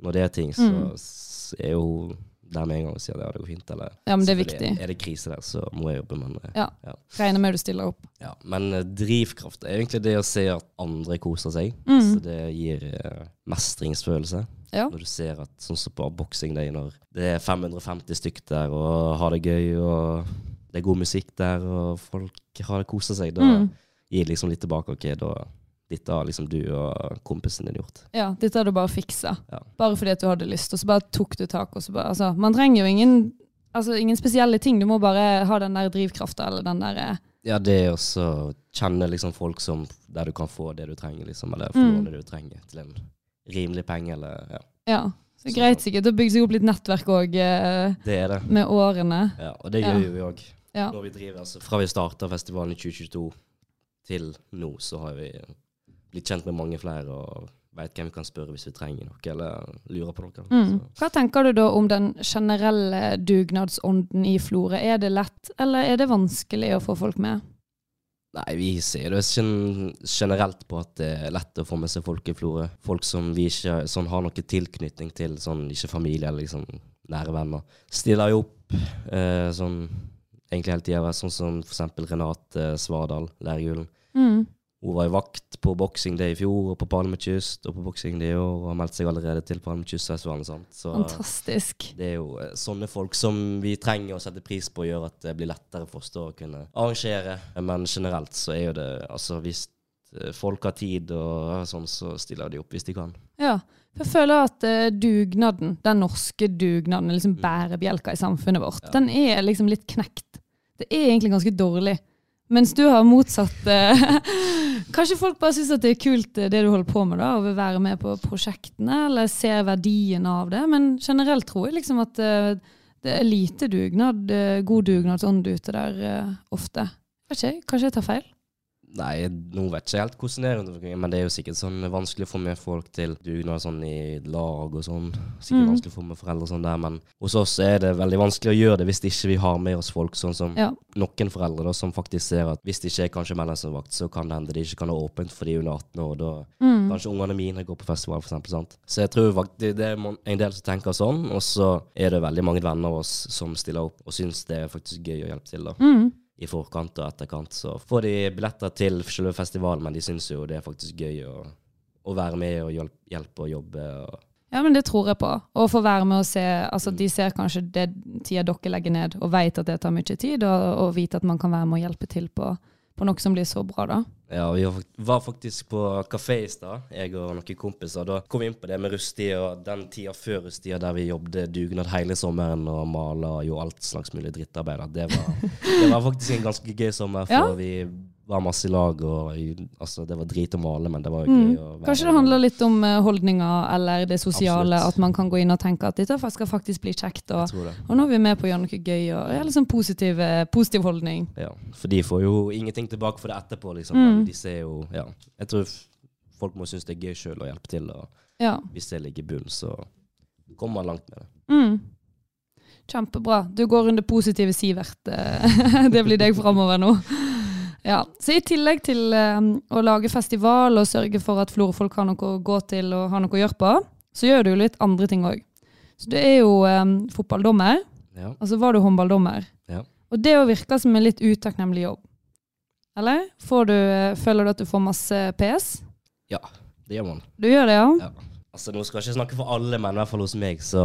Speaker 2: når det er ting, så
Speaker 1: Mm.
Speaker 2: s- er jo hun der med en gang og sier at ja, det går fint, eller
Speaker 1: ja, men det er viktig.
Speaker 2: Selvfølgelig, Er det krise der, så må jeg jobbe, men eh,
Speaker 1: Regner med du stiller opp.
Speaker 2: Ja, men eh, drivkraft er egentlig det å se at andre koser seg.
Speaker 1: Mm.
Speaker 2: Så det gir eh, mestringsfølelse.
Speaker 1: Ja.
Speaker 2: Når du ser at sånn som på Boxing Day, når det er 550 stykk der og har det gøy, og det er god musikk der, og folk har det koser seg, da
Speaker 1: Mm.
Speaker 2: gir det liksom litt tilbake. Ok, da dette har liksom du og kompisen din gjort.
Speaker 1: Ja, dette har du bare fiksa.
Speaker 2: Ja.
Speaker 1: Bare fordi at du hadde lyst, og så bare tok du tak. Og så bare, altså, man trenger jo ingen, altså, ingen spesielle ting. Du må bare ha den der drivkrafta eller den der eh,
Speaker 2: Ja, det er også å kjenne liksom folk som der du kan få det du trenger, liksom, eller få
Speaker 1: Mm.
Speaker 2: låne det du trenger til en rimelig penge, eller ja.
Speaker 1: Ja. Så det er greit sikkert å bygge seg opp litt nettverk òg eh,
Speaker 2: Det er det.
Speaker 1: med årene.
Speaker 2: Ja, og det
Speaker 1: Ja.
Speaker 2: gjør jo vi òg.
Speaker 1: Ja.
Speaker 2: Når vi driver, altså Fra vi starta festivalen i 2022 til nå, så har vi blitt kjent med mange flere og veit hvem vi kan spørre hvis vi trenger noe eller lurer på noe.
Speaker 1: Mm.
Speaker 2: Så.
Speaker 1: Hva tenker du da om den generelle dugnadsånden i Florø? Er det lett, eller er det vanskelig å få folk med?
Speaker 2: Nei, vi ser det gen generelt på at det er lett å få med seg folk i Florø. Folk som vi ikke sånn, har noe tilknytning til, sånn ikke familie eller liksom nære venner. Stiller jo opp eh, sånn egentlig hele tida, sånn som for eksempel Renate Svardal, lærerjulen.
Speaker 1: Mm.
Speaker 2: Hun var i vakt på Boxing Day i fjor og på Palmekyst, og på Boxing Day i år, og har meldt seg allerede til Palmekystfestivalen. sant? Så
Speaker 1: Fantastisk.
Speaker 2: det er jo eh, sånne folk som vi trenger å sette pris på, gjør at det blir lettere for oss da å kunne arrangere. Men generelt så er jo det Altså, hvis eh, folk har tid og sånn, så stiller de opp hvis de kan.
Speaker 1: Ja. For jeg føler at eh, dugnaden, den norske dugnaden, er liksom bærebjelka i samfunnet vårt. Den er liksom litt knekt. Det er egentlig ganske dårlig. Mens du har motsatt eh, Kanskje folk bare syns at det er kult eh, det du holder på med, da, og vil være med på prosjektene, eller ser verdien av det. Men generelt tror jeg liksom at eh, det er lite dugnad, eh, god dugnadsånd ute der eh, ofte. Vet ikke, jeg. kanskje jeg tar feil?
Speaker 2: Nei, nå vet jeg ikke helt hvordan det er rundt omkring, men det er jo sikkert sånn vanskelig å få med folk til dugnad sånn i lag og sånn. Sikkert
Speaker 1: Mhm.
Speaker 2: vanskelig å få med foreldre og sånn der, men hos oss er det veldig vanskelig å gjøre det hvis ikke vi har med oss folk sånn som
Speaker 1: Ja.
Speaker 2: noen foreldre da, som faktisk ser at hvis det ikke jeg kanskje melder seg vakt, så kan det hende de ikke kan ha åpent for de under 18 år. Da
Speaker 1: Mm.
Speaker 2: Kanskje ungene mine går på festival, for eksempel, sant? Så jeg tror faktisk det er mon- en del som tenker sånn, og så er det veldig mange venner av oss som stiller opp og syns det er faktisk gøy å hjelpe til. da
Speaker 1: Mm.
Speaker 2: i forkant og etterkant. Så får de billetter til selve festivalen, men de syns jo det er faktisk gøy å, å være med og hjelpe, hjelpe og jobbe. Og,
Speaker 1: Ja, men det tror jeg på. Å få være med og se
Speaker 2: Mm.
Speaker 1: altså De ser kanskje det tida dere legger ned, og vet at det tar mye tid, og, og vite at man kan være med og hjelpe til på, på noe som blir så bra, da.
Speaker 2: ja, vi var fakt- var faktisk på kafé i stad, jeg og noen kompiser. Da kom vi inn på det med rusttida og den tida før rusttida der vi jobbet dugnad hele sommeren og mala og gjorde alt slags mulig drittarbeid. at Det var, det var faktisk en ganske gøy sommer, for
Speaker 1: Ja.
Speaker 2: vi var masse i lag, og i- altså, det var drit å male, men det var jo
Speaker 1: Mm.
Speaker 2: gøy. å være
Speaker 1: Kanskje det
Speaker 2: med.
Speaker 1: handler litt om eh, holdninger eller det sosiale,
Speaker 2: Absolutt.
Speaker 1: at man kan gå inn og tenke at dette skal faktisk bli kjekt,
Speaker 2: Jeg
Speaker 1: og,
Speaker 2: tror det.
Speaker 1: og nå er vi med på å gjøre noe gøy, og ja, liksom positiv, eh, positiv holdning.
Speaker 2: Ja, for de får jo ingenting tilbake for det etterpå, liksom.
Speaker 1: Mm.
Speaker 2: Men de ser jo Ja. Jeg tror f- folk må synes det er gøy sjøl å hjelpe til, og
Speaker 1: Ja.
Speaker 2: hvis det ligger i bunnen, så kommer man langt med det.
Speaker 1: Mm. Kjempebra. Du går under positive Sivert. eh, Det blir deg framover nå. Ja, så I tillegg til eh, å lage festival og sørge for at florefolk har noe å gå til og har noe å gjøre på, så gjør du jo litt andre ting òg. Så du er jo eh, fotballdommer,
Speaker 2: Ja.
Speaker 1: og så var du håndballdommer.
Speaker 2: Ja.
Speaker 1: Og det å virke som en litt utakknemlig jobb. Eller? Får du, eh, føler du at du får masse PS?
Speaker 2: Det gjør man.
Speaker 1: Du gjør det, ja?
Speaker 2: Ja. Altså, Nå skal jeg ikke snakke for alle, men i hvert fall hos meg så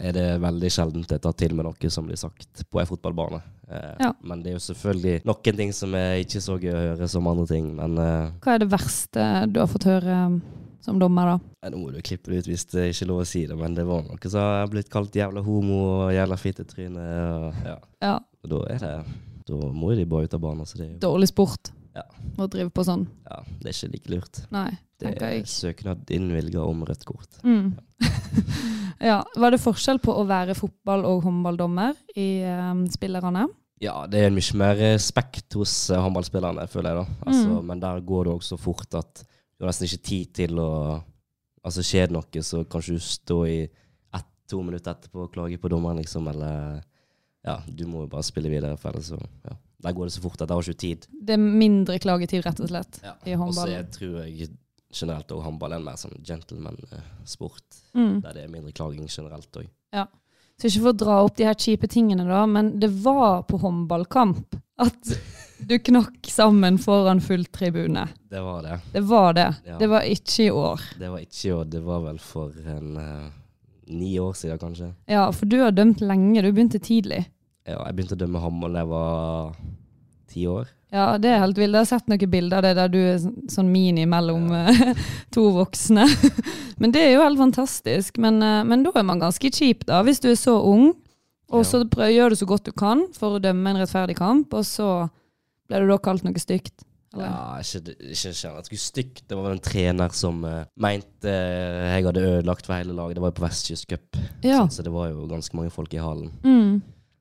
Speaker 2: er det veldig sjeldent jeg tar til med noe som blir sagt på en fotballbane. Eh,
Speaker 1: Ja.
Speaker 2: Men det er jo selvfølgelig noen ting som er ikke så gøy å høre som andre ting. Men eh,
Speaker 1: Hva er det verste du har fått høre eh, som dommer, da?
Speaker 2: Nei, Nå må du klippe det ut hvis det er ikke er lov å si det, men det var noe som har blitt kalt jævla homo og jævla fittetryne. og- Ja.
Speaker 1: Ja.
Speaker 2: Og da er det Da må jo de bare ut av banen. Så det, er jo-
Speaker 1: dårlig sport
Speaker 2: Ja.
Speaker 1: å drive på sånn.
Speaker 2: ja, det er ikke like lurt.
Speaker 1: Nei,
Speaker 2: Det
Speaker 1: tenker
Speaker 2: er
Speaker 1: jeg.
Speaker 2: søknad innvilga om rødt kort.
Speaker 1: Mm. ja, var det forskjell på å være fotball- og håndballdommer i eh, spillerne?
Speaker 2: Ja, det er mye mer respekt hos eh, håndballspillerne, føler jeg, da. Altså,
Speaker 1: Mm.
Speaker 2: Men der går det også fort at du har nesten ikke tid til å Altså, skjer det noe, så kanskje du står i ett-to minutter etterpå og klager på dommeren, liksom, eller Ja, du må jo bare spille videre, for ellers så ja. Der går det så fort at der har du ikke tid.
Speaker 1: Det er mindre klagetid, rett og slett, i
Speaker 2: Og så
Speaker 1: håndballen.
Speaker 2: jeg tror jeg generelt òg håndball er en mer sånn gentleman-sport.
Speaker 1: Mm.
Speaker 2: Der det er mindre klaging generelt òg.
Speaker 1: Så ikke for å dra opp de her kjipe tingene, da, men det var på håndballkamp at du knakk sammen foran full tribune.
Speaker 2: Det var det.
Speaker 1: Det var det.
Speaker 2: Ja.
Speaker 1: Det var ikke i år.
Speaker 2: Det var ikke i år, det var vel for en eh, ni år siden, kanskje.
Speaker 1: Ja, for du har dømt lenge. Du begynte tidlig.
Speaker 2: Ja, jeg begynte å dømme håndball da jeg var ti år.
Speaker 1: Ja, det er helt vilt. Jeg har sett noen bilder av det der du er sånn- sånn mini mellom eh, to voksne. Men det er jo helt fantastisk. Men, eh, men da er man ganske kjip, da, hvis du er så ung. Og så prøv, gjør du så godt du kan for å dømme en rettferdig kamp, og så ble du da kalt noe stygt. Eller?
Speaker 2: Ja, ikke, ikke kjenne at det skulle stygt. Det var vel en trener som eh, mente eh, jeg hadde ødelagt for hele laget. Det var jo på Vestkyst Cup,
Speaker 1: Ja.
Speaker 2: så det var jo ganske mange folk i hallen.
Speaker 1: Mm.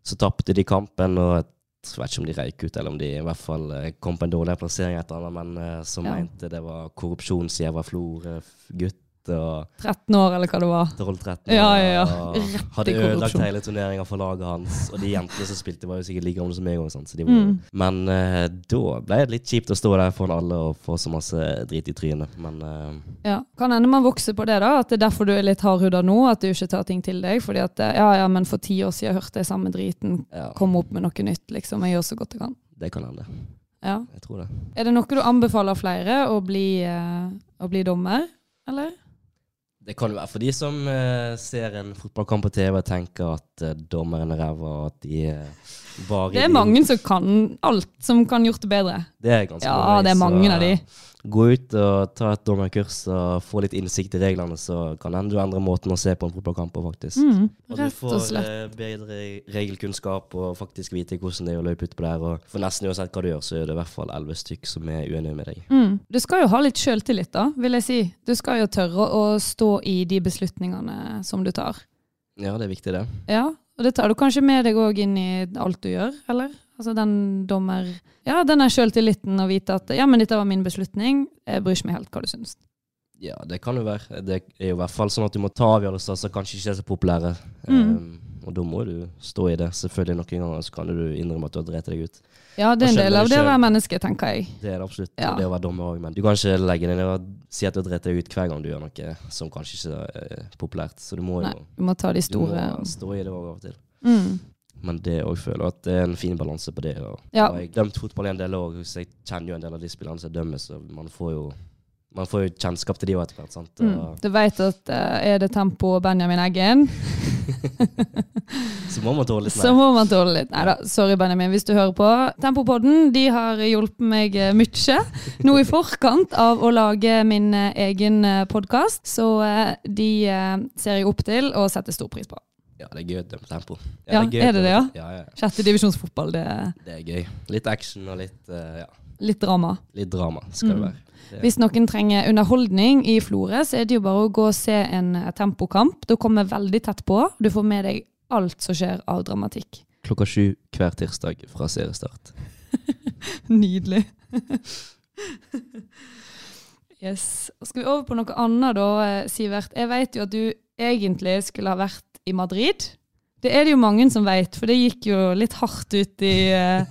Speaker 2: Så tapte de kampen, og jeg vet ikke om de røyk ut, eller om de i hvert fall eh, kom på en dårligere plassering etter andre, men eh, som
Speaker 1: Ja.
Speaker 2: mente det var korrupsjon siden jeg var Florø-gutt og
Speaker 1: 13 år, eller hva det var.
Speaker 2: 12-13 år.
Speaker 1: Ja, ja, ja.
Speaker 2: og Hadde
Speaker 1: Riktig
Speaker 2: ødelagt
Speaker 1: korrupsjon.
Speaker 2: hele turneringa for laget hans, og de jentene som spilte, var jo sikkert like gamle som meg. og sånt, Så de var,
Speaker 1: Mm.
Speaker 2: Men eh, da ble det litt kjipt å stå der foran alle og få så masse drit i trynet, men eh,
Speaker 1: Ja. Kan hende man vokser på det, da. At det er derfor du er litt hardhuda nå. At du ikke tar ting til deg. Fordi at eh, ja, ja, men for ti år siden hørte jeg samme driten.
Speaker 2: ja,
Speaker 1: Kom opp med noe nytt, liksom. Jeg gjør så godt jeg kan.
Speaker 2: det kan hende.
Speaker 1: Ja.
Speaker 2: Jeg tror det.
Speaker 1: Er det noe du anbefaler flere å bli, eh, å bli dommer, eller?
Speaker 2: Det kan jo være for de som eh, ser en fotballkamp på TV og tenker at eh, dommeren er ræva, og at de eh, bare
Speaker 1: Det er mange som kan alt, som kan gjort det bedre.
Speaker 2: Det er ganske
Speaker 1: Ja, det er mange
Speaker 2: så
Speaker 1: av de.
Speaker 2: Gå ut og ta et dommerkurs og få litt innsikt i reglene, så kan det hende du endrer måten å se på en fotballkamp på, faktisk.
Speaker 1: Mm,
Speaker 2: Og du
Speaker 1: rett og
Speaker 2: får
Speaker 1: slett.
Speaker 2: eh, bedre regelkunnskap og faktisk vite hvordan det er å løpe utpå der. Og for nesten uansett hva du gjør, så er det i hvert fall elleve stykk som er uenige med deg.
Speaker 1: Mm. Du skal jo ha litt sjøltillit, da, vil jeg si. Du skal jo tørre å stå i de beslutningene som du tar.
Speaker 2: Ja, det er viktig, det.
Speaker 1: Ja, og det tar du kanskje med deg òg inn i alt du gjør, eller? Altså den dommer... Ja, den er sjøltilliten å vite at ja, men dette var min beslutning, jeg bryr ikke meg helt hva du syns.
Speaker 2: Ja, det kan jo være. Det er jo i hvert fall sånn at du må ta avgjørelser som kanskje ikke er så populære.
Speaker 1: Mm.
Speaker 2: Um, og da må du stå i det. Selvfølgelig noen ganger så kan du innrømme at du har drept deg ut.
Speaker 1: Ja, det er
Speaker 2: Og
Speaker 1: en
Speaker 2: skjønner
Speaker 1: del av det å
Speaker 2: ikke-
Speaker 1: være menneske, tenker jeg.
Speaker 2: Det er det absolutt.
Speaker 1: Ja.
Speaker 2: Og det å være dommer òg, men du kan ikke legge deg ned og si at du har drept deg ut hver gang du gjør noe som kanskje ikke er eh, populært. Så du må
Speaker 1: Nei,
Speaker 2: jo
Speaker 1: du må ta de
Speaker 2: du må
Speaker 1: store
Speaker 2: stå i det òg av og til.
Speaker 1: mm.
Speaker 2: Men det òg føler jeg at det er en fin balanse på det. Og,
Speaker 1: Ja.
Speaker 2: og jeg har dømt fotball i en del år, så jeg kjenner jo en del av de spillerne som dømmes, så man får jo, man får jo kjennskap til de òg etter hvert. sant?
Speaker 1: Mm.
Speaker 2: Og-
Speaker 1: Du veit at eh, er det tempo og Benjamin Eggen,
Speaker 2: Så må man tåle litt
Speaker 1: så
Speaker 2: mer.
Speaker 1: må man tåle litt. Nei da, sorry Benjamin hvis du hører på. Tempopodden de har hjulpet meg eh, mye nå i forkant av å lage min eh, egen podkast, så eh, de eh, ser jeg opp til og setter stor pris på.
Speaker 2: Ja, det er gøy å dømme tempo.
Speaker 1: Ja,
Speaker 2: gøy
Speaker 1: er det
Speaker 2: å
Speaker 1: det,
Speaker 2: dømme- Ja, ja.
Speaker 1: Sjette divisjonsfotball, det er
Speaker 2: Det er gøy. Litt action og litt, eh, ja,
Speaker 1: litt drama.
Speaker 2: litt drama skal det
Speaker 1: Mm.
Speaker 2: være.
Speaker 1: Hvis noen trenger underholdning i Florø, så er det jo bare å gå og se en eh, tempokamp. Du kommer veldig tett på. Du får med deg alt som skjer av dramatikk.
Speaker 2: Klokka sju hver tirsdag fra seriestart.
Speaker 1: Nydelig. yes. Skal vi over på noe annet da, eh, Sivert? Jeg vet jo at du egentlig skulle ha vært i Madrid. Det er det jo mange som vet, for det gikk jo litt hardt ut i, eh,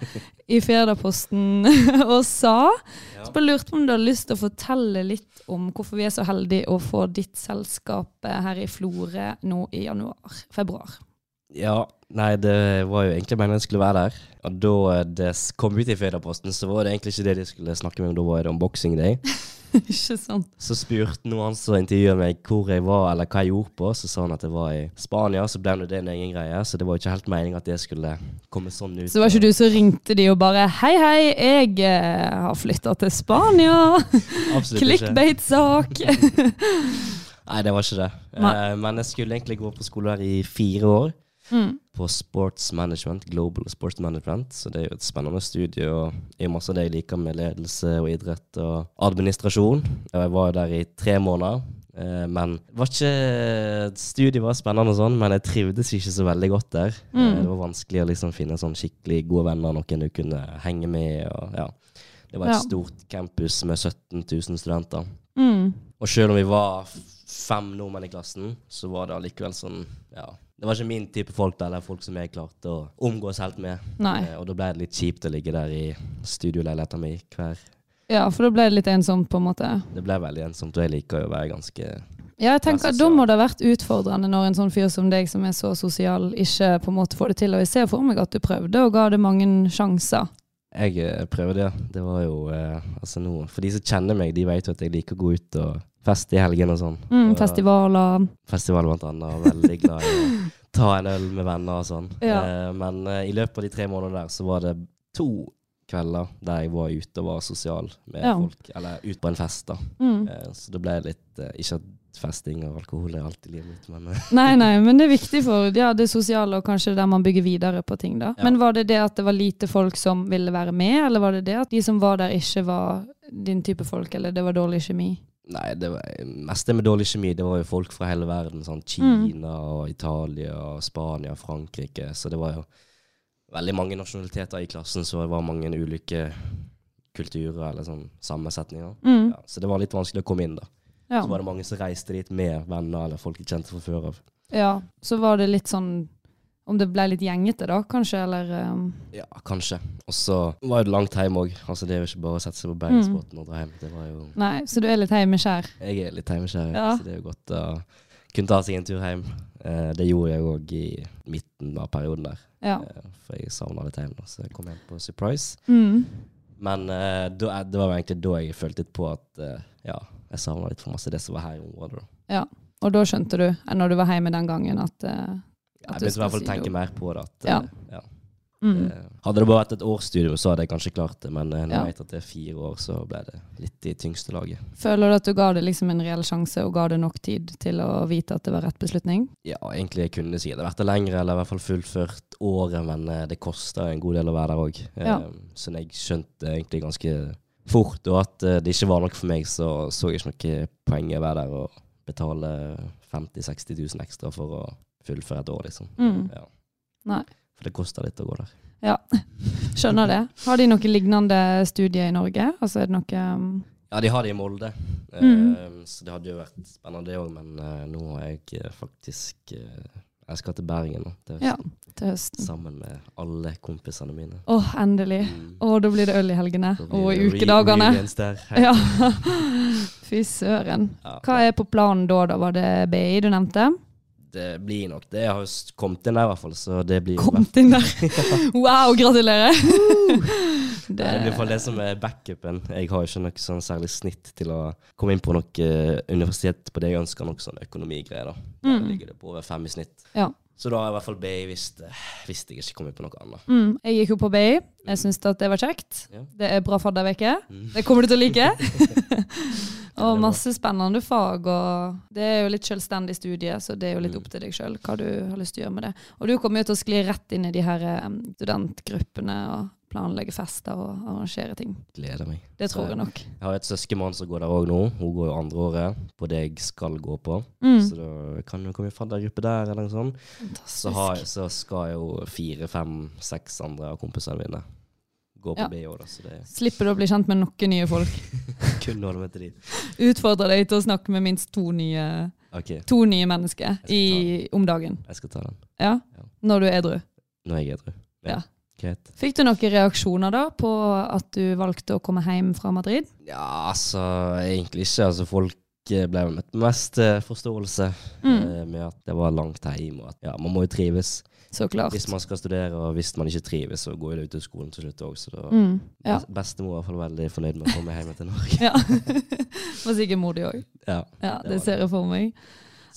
Speaker 1: i Firdaposten og sa.
Speaker 2: Ja.
Speaker 1: Så bare lurte på om du har lyst til å fortelle litt om hvorfor vi er så heldige å få ditt selskap eh, her i Florø nå i januar-februar.
Speaker 2: Ja, nei, det var jo egentlig meningen jeg skulle være der. Og da eh, det s- kom ut i Federposten, så var det egentlig ikke det de skulle snakke med om. Da var det om Boxing Day.
Speaker 1: Ikke sant?
Speaker 2: Så spurte noen som intervjuet meg hvor jeg var, eller hva jeg gjorde på. Så sa han at jeg var i Spania, så ble det en egen greie. Så det var jo ikke helt meningen at det skulle komme sånn ut.
Speaker 1: Så var ikke du så ringte de og bare Hei, hei, jeg eh, har flytta til Spania!
Speaker 2: Absolutt ikke.
Speaker 1: Clickbait-sak!
Speaker 2: Nei, det var ikke det.
Speaker 1: Nei.
Speaker 2: Eh, men jeg skulle egentlig gå på skole her i fire år.
Speaker 1: Mm.
Speaker 2: På Sports Management, Global Sports Management. Så det er jo et spennende studie. Og det er jo masse av det jeg liker med ledelse og idrett og administrasjon. Og jeg var jo der i tre måneder. eh, Men det var ikke studiet var spennende og sånn, men jeg trivdes ikke så veldig godt der. Eh,
Speaker 1: Mm.
Speaker 2: Det var vanskelig å liksom finne sånn skikkelig gode venner, noen du kunne henge med. Og, ja. Det var et
Speaker 1: Ja.
Speaker 2: stort campus med 17 000 studenter.
Speaker 1: Mm.
Speaker 2: Og selv om vi var f- fem nordmenn i klassen, så var det allikevel sånn Ja. Det var ikke min type folk der, eller folk som jeg klarte å omgås helt med.
Speaker 1: Nei.
Speaker 2: Eh, og da ble det litt kjipt å ligge der i studioleiligheten min hver
Speaker 1: Ja, for da ble det litt ensomt, på en måte.
Speaker 2: Det ble veldig ensomt, og jeg liker jo å være ganske
Speaker 1: Ja, jeg tenker
Speaker 2: Vær
Speaker 1: Da
Speaker 2: sosial.
Speaker 1: må det ha vært utfordrende når en sånn fyr som deg, som er så sosial, ikke på en måte får det til. Og jeg ser for meg at du prøvde og ga det mange sjanser.
Speaker 2: Jeg eh, prøver det. Det var jo eh, Altså nå For de som kjenner meg, de vet jo at jeg liker å gå ut og feste i helgene og sånn.
Speaker 1: Mm,
Speaker 2: Og
Speaker 1: festivaler.
Speaker 2: festival blant annet, og veldig glad i å ta en øl med venner og sånn.
Speaker 1: Ja.
Speaker 2: Eh, men eh, i løpet av de tre månedene der så var det to kvelder der jeg var ute og var sosial med
Speaker 1: Ja.
Speaker 2: folk, eller ut på en fest da.
Speaker 1: Mm.
Speaker 2: Eh, så det ble litt, eh, ikke at festing og alkohol er alltid livet mitt, men eh,
Speaker 1: Nei, nei, men det er viktig for ja, det sosiale og kanskje der man bygger videre på ting. da.
Speaker 2: Ja.
Speaker 1: Men var det det at det var lite folk som ville være med, eller var det det at de som var der, ikke var din type folk, eller det var dårlig kjemi?
Speaker 2: nei, det var mest det med dårlig kjemi, det var jo folk fra hele verden, sånn
Speaker 1: Mm.
Speaker 2: Kina og Italia og Spania og Frankrike, så det var jo veldig mange nasjonaliteter i klassen, så det var mange ulike kulturer eller sånn sammensetninger.
Speaker 1: Mm.
Speaker 2: Ja, så det var litt vanskelig å komme inn, da.
Speaker 1: Ja.
Speaker 2: Så var det mange som reiste dit med venner eller folk de kjente fra før av.
Speaker 1: Ja, så var det litt sånn Om det ble litt gjengete da, kanskje, eller ehm,
Speaker 2: Ja, kanskje. Og så var det langt hjem òg. Altså, det er jo ikke bare å sette seg på
Speaker 1: Mm.
Speaker 2: Bergensbåten og dra hjem. Det var jo
Speaker 1: Nei, så du er litt heimeskjær.
Speaker 2: Jeg er litt hjemmeskjær,
Speaker 1: Ja.
Speaker 2: så det er jo godt å kunne ta seg en tur hjem. Eh, det gjorde jeg òg i midten av perioden der,
Speaker 1: Ja.
Speaker 2: eh, for jeg savna litt hjem, da, så jeg kom hjem på Surprise.
Speaker 1: Mm.
Speaker 2: Men eh, da, det var jo egentlig da jeg følte litt på at eh, ja, jeg savna litt for masse det som var her i området, da.
Speaker 1: Og da skjønte du, eh, når du var hjemme den gangen, at eh,
Speaker 2: Jeg
Speaker 1: du
Speaker 2: begynte i hvert
Speaker 1: skal
Speaker 2: fall å
Speaker 1: si
Speaker 2: tenke
Speaker 1: noe.
Speaker 2: mer på det. At,
Speaker 1: Ja.
Speaker 2: eh, ja.
Speaker 1: Mm.
Speaker 2: Eh, Hadde det bare vært et årsstudio, så hadde jeg kanskje klart det, men eh, når
Speaker 1: Ja.
Speaker 2: jeg vet at det er fire år, så ble det litt i tyngste laget.
Speaker 1: Føler du at du ga det liksom en reell sjanse og ga det nok tid til å vite at det var rett beslutning?
Speaker 2: Ja, egentlig jeg kunne sikkert vært det lengre, eller i hvert fall fullført året, men eh, det koster en god del å være der òg.
Speaker 1: Ja.
Speaker 2: Så jeg skjønte egentlig ganske fort, og at eh, det ikke var noe for meg, så så jeg ikke noe poeng i å være der og betale 50 000-60 000 ekstra for å fullføre et år, liksom.
Speaker 1: Mm.
Speaker 2: Ja.
Speaker 1: Nei.
Speaker 2: For det koster litt å gå der.
Speaker 1: Skjønner det. Har de noe lignende studie i Norge? Altså er det noe um,
Speaker 2: Ja, de har det i Molde, eh,
Speaker 1: Mhm.
Speaker 2: så det hadde jo vært spennende det òg, men eh, nå har jeg eh, faktisk eh, Jeg skal til Bergen nå, til
Speaker 1: Ja.
Speaker 2: høsten,
Speaker 1: til høsten?
Speaker 2: sammen med alle kompisene mine.
Speaker 1: Åh, endelig.
Speaker 2: Mm.
Speaker 1: Åh, da blir det øl i helgene.
Speaker 2: Da blir
Speaker 1: Og i
Speaker 2: det re-
Speaker 1: ukedagene.
Speaker 2: reunions Der,
Speaker 1: Ja. Fy søren.
Speaker 2: Ja.
Speaker 1: Hva er på planen da, da? Var det BI du nevnte?
Speaker 2: Det blir nok det. Jeg har jo s- kommet inn der, i hvert fall. Så det blir, i hvert
Speaker 1: Komt inn der! Wow, gratulerer!
Speaker 2: fall- det blir i hvert fall det som er backupen. Jeg har jo ikke noe sånn særlig snitt til å komme inn på noe eh, universitet på det jeg ønsker, noe sånn økonomigreier. da. Der
Speaker 1: Mm.
Speaker 2: ligger det på over fem i snitt.
Speaker 1: Ja.
Speaker 2: Så da har jeg i hvert fall B hvis, det- hvis jeg ikke kommer inn på noe annet.
Speaker 1: Mm, jeg gikk jo på BI. Jeg syns at det var kjekt.
Speaker 2: Ja.
Speaker 1: Det er bra fadderveke.
Speaker 2: Mm.
Speaker 1: Det kommer du til å like.
Speaker 2: Ja, det
Speaker 1: og
Speaker 2: er
Speaker 1: masse spennende fag. Og det er jo litt selvstendig studie, så det er jo litt
Speaker 2: Mm.
Speaker 1: opp til deg sjøl hva du har lyst til å gjøre med det. Og du kommer jo til å skli rett inn i de her em, studentgruppene og planlegge fester og arrangere ting.
Speaker 2: Gleder meg.
Speaker 1: Det
Speaker 2: Så
Speaker 1: tror jeg nok.
Speaker 2: Jeg har et søskenbarn som går der òg nå. Hun går jo andre året på det jeg skal gå på.
Speaker 1: Mm,
Speaker 2: Så da kan hun komme i faddergruppe der, eller noe sånt. så, har,
Speaker 1: fantastisk.
Speaker 2: så skal jo fire, fem, seks andre av kompisene mine gå på
Speaker 1: Ja.
Speaker 2: BH, da, så det er
Speaker 1: Slipper du å bli kjent med noen nye folk.
Speaker 2: kun å holde med til de.
Speaker 1: Utfordrer deg til å snakke med minst to nye,
Speaker 2: OK,
Speaker 1: to nye mennesker
Speaker 2: skal
Speaker 1: i, om dagen.
Speaker 2: jeg skal ta den
Speaker 1: Ja,
Speaker 2: Ja.
Speaker 1: når du er edru.
Speaker 2: når jeg er edru.
Speaker 1: Ja.
Speaker 2: Greit.
Speaker 1: Fikk du noen reaksjoner da på at du valgte å komme hjem fra Madrid?
Speaker 2: Ja, altså, egentlig ikke. Altså, folk eh, ble møtt med mest eh, forståelse
Speaker 1: Mm.
Speaker 2: eh, med at det var langt hjem, og at ja, man må jo trives
Speaker 1: Så klart.
Speaker 2: hvis man skal studere, og hvis man ikke trives, så går jo det ut av skolen til slutt òg, så da
Speaker 1: Mm, ja.
Speaker 2: bes- Bestemor er i hvert fall veldig fornøyd med å komme hjem til Norge.
Speaker 1: ja. Var sikkert modig òg.
Speaker 2: Ja,
Speaker 1: Ja,
Speaker 2: Det
Speaker 1: det
Speaker 2: var
Speaker 1: ser jeg for meg.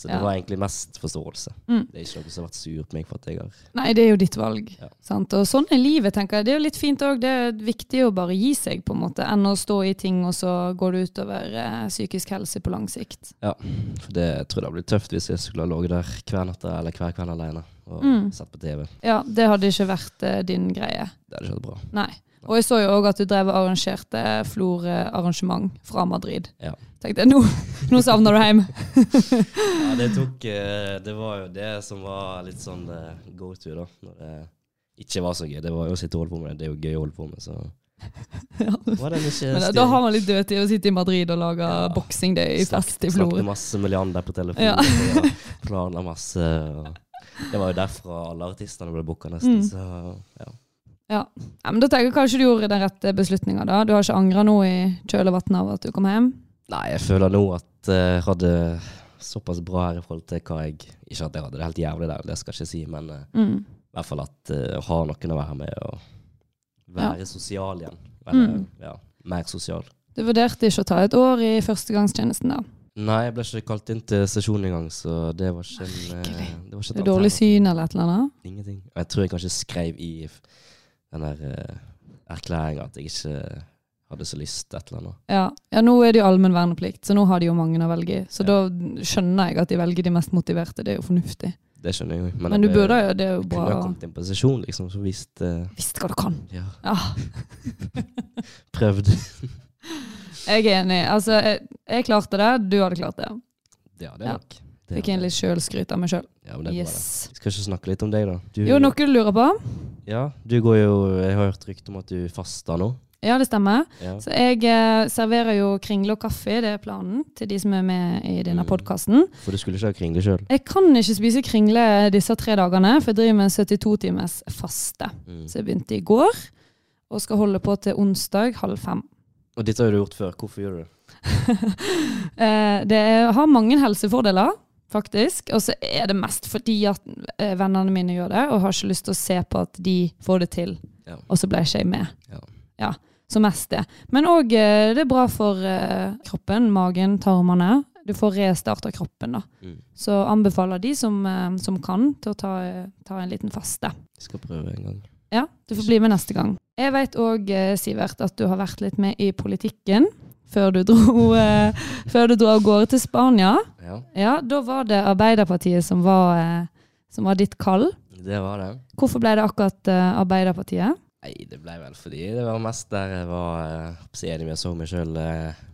Speaker 2: så det
Speaker 1: Ja.
Speaker 2: var egentlig mest forståelse.
Speaker 1: Mm.
Speaker 2: Det er ikke noe som har vært sur på meg for at jeg har
Speaker 1: Nei, det er jo ditt valg.
Speaker 2: Ja.
Speaker 1: Sant? Og sånn er livet, tenker jeg. Det er jo litt fint òg. Det er viktig å bare gi seg, på en måte, enn å stå i ting, og så går det utover eh, psykisk helse på lang sikt.
Speaker 2: Ja, for det jeg tror jeg hadde blitt tøft hvis jeg skulle ha ligget der hver natt eller hver kveld alene og
Speaker 1: Mm.
Speaker 2: sett på TV.
Speaker 1: Ja, det hadde ikke vært eh, din greie.
Speaker 2: Det hadde ikke vært bra.
Speaker 1: Nei. Og jeg så jo òg at du drev og arrangerte Flor-arrangement fra Madrid.
Speaker 2: Ja.
Speaker 1: Tenkte jeg, nå, nå savner du hjem.
Speaker 2: Ja, det tok eh, Det var jo det som var litt sånn eh, go to, da. Når det ikke var så gøy. Det var jo å sitte og holde på med det. Det er jo gøy å holde på med, så Var det ikke
Speaker 1: Men da, da
Speaker 2: styr?
Speaker 1: har man litt dødtid å sitte i Madrid og lage
Speaker 2: Ja.
Speaker 1: boxing day i fest i
Speaker 2: Snakket
Speaker 1: Florø.
Speaker 2: masse med Leander på telefonen.
Speaker 1: Ja.
Speaker 2: og Planla masse. Og det var jo derfra alle artistene ble booka, nesten.
Speaker 1: Mm.
Speaker 2: Så ja.
Speaker 1: Ja, men da tenker jeg kanskje du gjorde den rette beslutninga, da. Du har ikke angra nå i kjølvannet av at du kom hjem?
Speaker 2: Nei, jeg føler nå at eh, jeg hadde såpass bra her i forhold til hva jeg Ikke at jeg hadde det helt jævlig der, det skal jeg ikke si, men eh,
Speaker 1: Mm.
Speaker 2: I hvert fall at eh, å ha noen å være med og være sosial igjen. Eller,
Speaker 1: Mm.
Speaker 2: ja, mer sosial.
Speaker 1: Du vurderte ikke å ta et år i førstegangstjenesten, da?
Speaker 2: Nei, jeg ble ikke kalt inn til sesjon engang, så det var ikke en eh,
Speaker 1: Merkelig.
Speaker 2: Det var ikke
Speaker 1: Det
Speaker 2: et
Speaker 1: er dårlig
Speaker 2: alternativ.
Speaker 1: syn eller et eller annet?
Speaker 2: Ingenting. Og jeg tror jeg kanskje skrev i f- den der eh, erklæringa at jeg ikke hadde så lyst til et eller annet.
Speaker 1: Ja. ja, nå er det jo allmenn verneplikt, så nå har de jo mange å velge i. Så da skjønner jeg at de velger de mest motiverte, det er jo fornuftig.
Speaker 2: Det skjønner jeg jo.
Speaker 1: Men, du burde jo, det er jo
Speaker 2: Jeg
Speaker 1: bra
Speaker 2: kunne ha
Speaker 1: å
Speaker 2: kommet inn på sesjon, liksom, som visste
Speaker 1: Visst hva du kan!
Speaker 2: Ja,
Speaker 1: Ja,
Speaker 2: prøvd.
Speaker 1: jeg er enig. Altså, jeg, jeg klarte det, du hadde klart det.
Speaker 2: Ja, det
Speaker 1: Ja.
Speaker 2: er nok. Det
Speaker 1: Fikk
Speaker 2: er
Speaker 1: inn
Speaker 2: nok.
Speaker 1: litt sjølskryt av meg sjøl.
Speaker 2: Ja, men det er bra, det.
Speaker 1: Yes.
Speaker 2: Vi skal ikke snakke litt om deg, da. Du,
Speaker 1: Jo, noe du lurer på?
Speaker 2: Ja, du går jo Jeg har hørt rykte om at du faster nå.
Speaker 1: Ja, det stemmer.
Speaker 2: Ja.
Speaker 1: Så jeg eh, serverer jo kringle og kaffe, det er planen, til de som er med i denne
Speaker 2: Mm.
Speaker 1: podkasten.
Speaker 2: For du skulle ikke ha kringle sjøl.
Speaker 1: Jeg kan ikke spise kringle disse tre dagene, for jeg driver med 72 timers faste.
Speaker 2: Mm.
Speaker 1: Så jeg begynte i går, og skal holde på til onsdag halv fem.
Speaker 2: Og dette har du gjort før. Hvorfor gjør du det?
Speaker 1: Eh, Det er- har mange helsefordeler, faktisk. Og så er det mest fordi at eh, vennene mine gjør det, og har ikke lyst til å se på at de får det til.
Speaker 2: Ja.
Speaker 1: Og så ble ikke jeg med.
Speaker 2: Ja.
Speaker 1: Ja, så mest det. Men òg eh, det er bra for eh, kroppen, magen, tarmene. Du får restart av kroppen, da.
Speaker 2: Mm.
Speaker 1: Så anbefaler de som, eh, som kan, til å ta, ta en liten faste.
Speaker 2: Jeg skal prøve en gang.
Speaker 1: Ja, du får bli med neste gang. Jeg vet òg, Sivert, at du har vært litt med i politikken før du dro, eh, før du dro av gårde til Spania.
Speaker 2: Ja,
Speaker 1: Ja, da var det Arbeiderpartiet som var, eh, som var ditt kall.
Speaker 2: det var det.
Speaker 1: Hvorfor ble det akkurat eh, Arbeiderpartiet?
Speaker 2: Nei, det ble vel fordi det var mest der jeg var eh, så enig med jeg så meg sjøl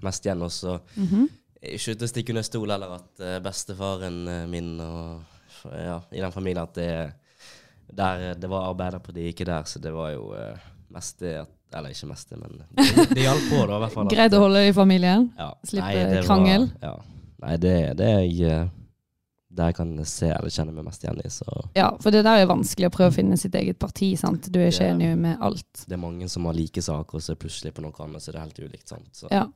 Speaker 2: mest igjen. Og så
Speaker 1: Mhm.
Speaker 2: jeg er ikke ute å stikke under stol eller at eh, bestefaren eh, min og f- ja, i den familien at det, der, eh, det var Arbeiderpartiet, ikke der. Så det var jo eh, mest det at Eller ikke mest det, men det, det hjalp på, da. i hvert fall. at-
Speaker 1: Greit å holde i familien?
Speaker 2: ja.
Speaker 1: Slippe
Speaker 2: det
Speaker 1: krangel.
Speaker 2: Var, ja. Nei, det er det er jeg eh, der jeg kan se eller kjenne meg mest igjen i. Så
Speaker 1: Ja, for det der er vanskelig å prøve å finne sitt eget parti, sant. Du er ikke
Speaker 2: Ja.
Speaker 1: enig med alt.
Speaker 2: det er mange som har like saker, og så plutselig på noe annet så er det helt ulikt. sant? Så
Speaker 1: Ja.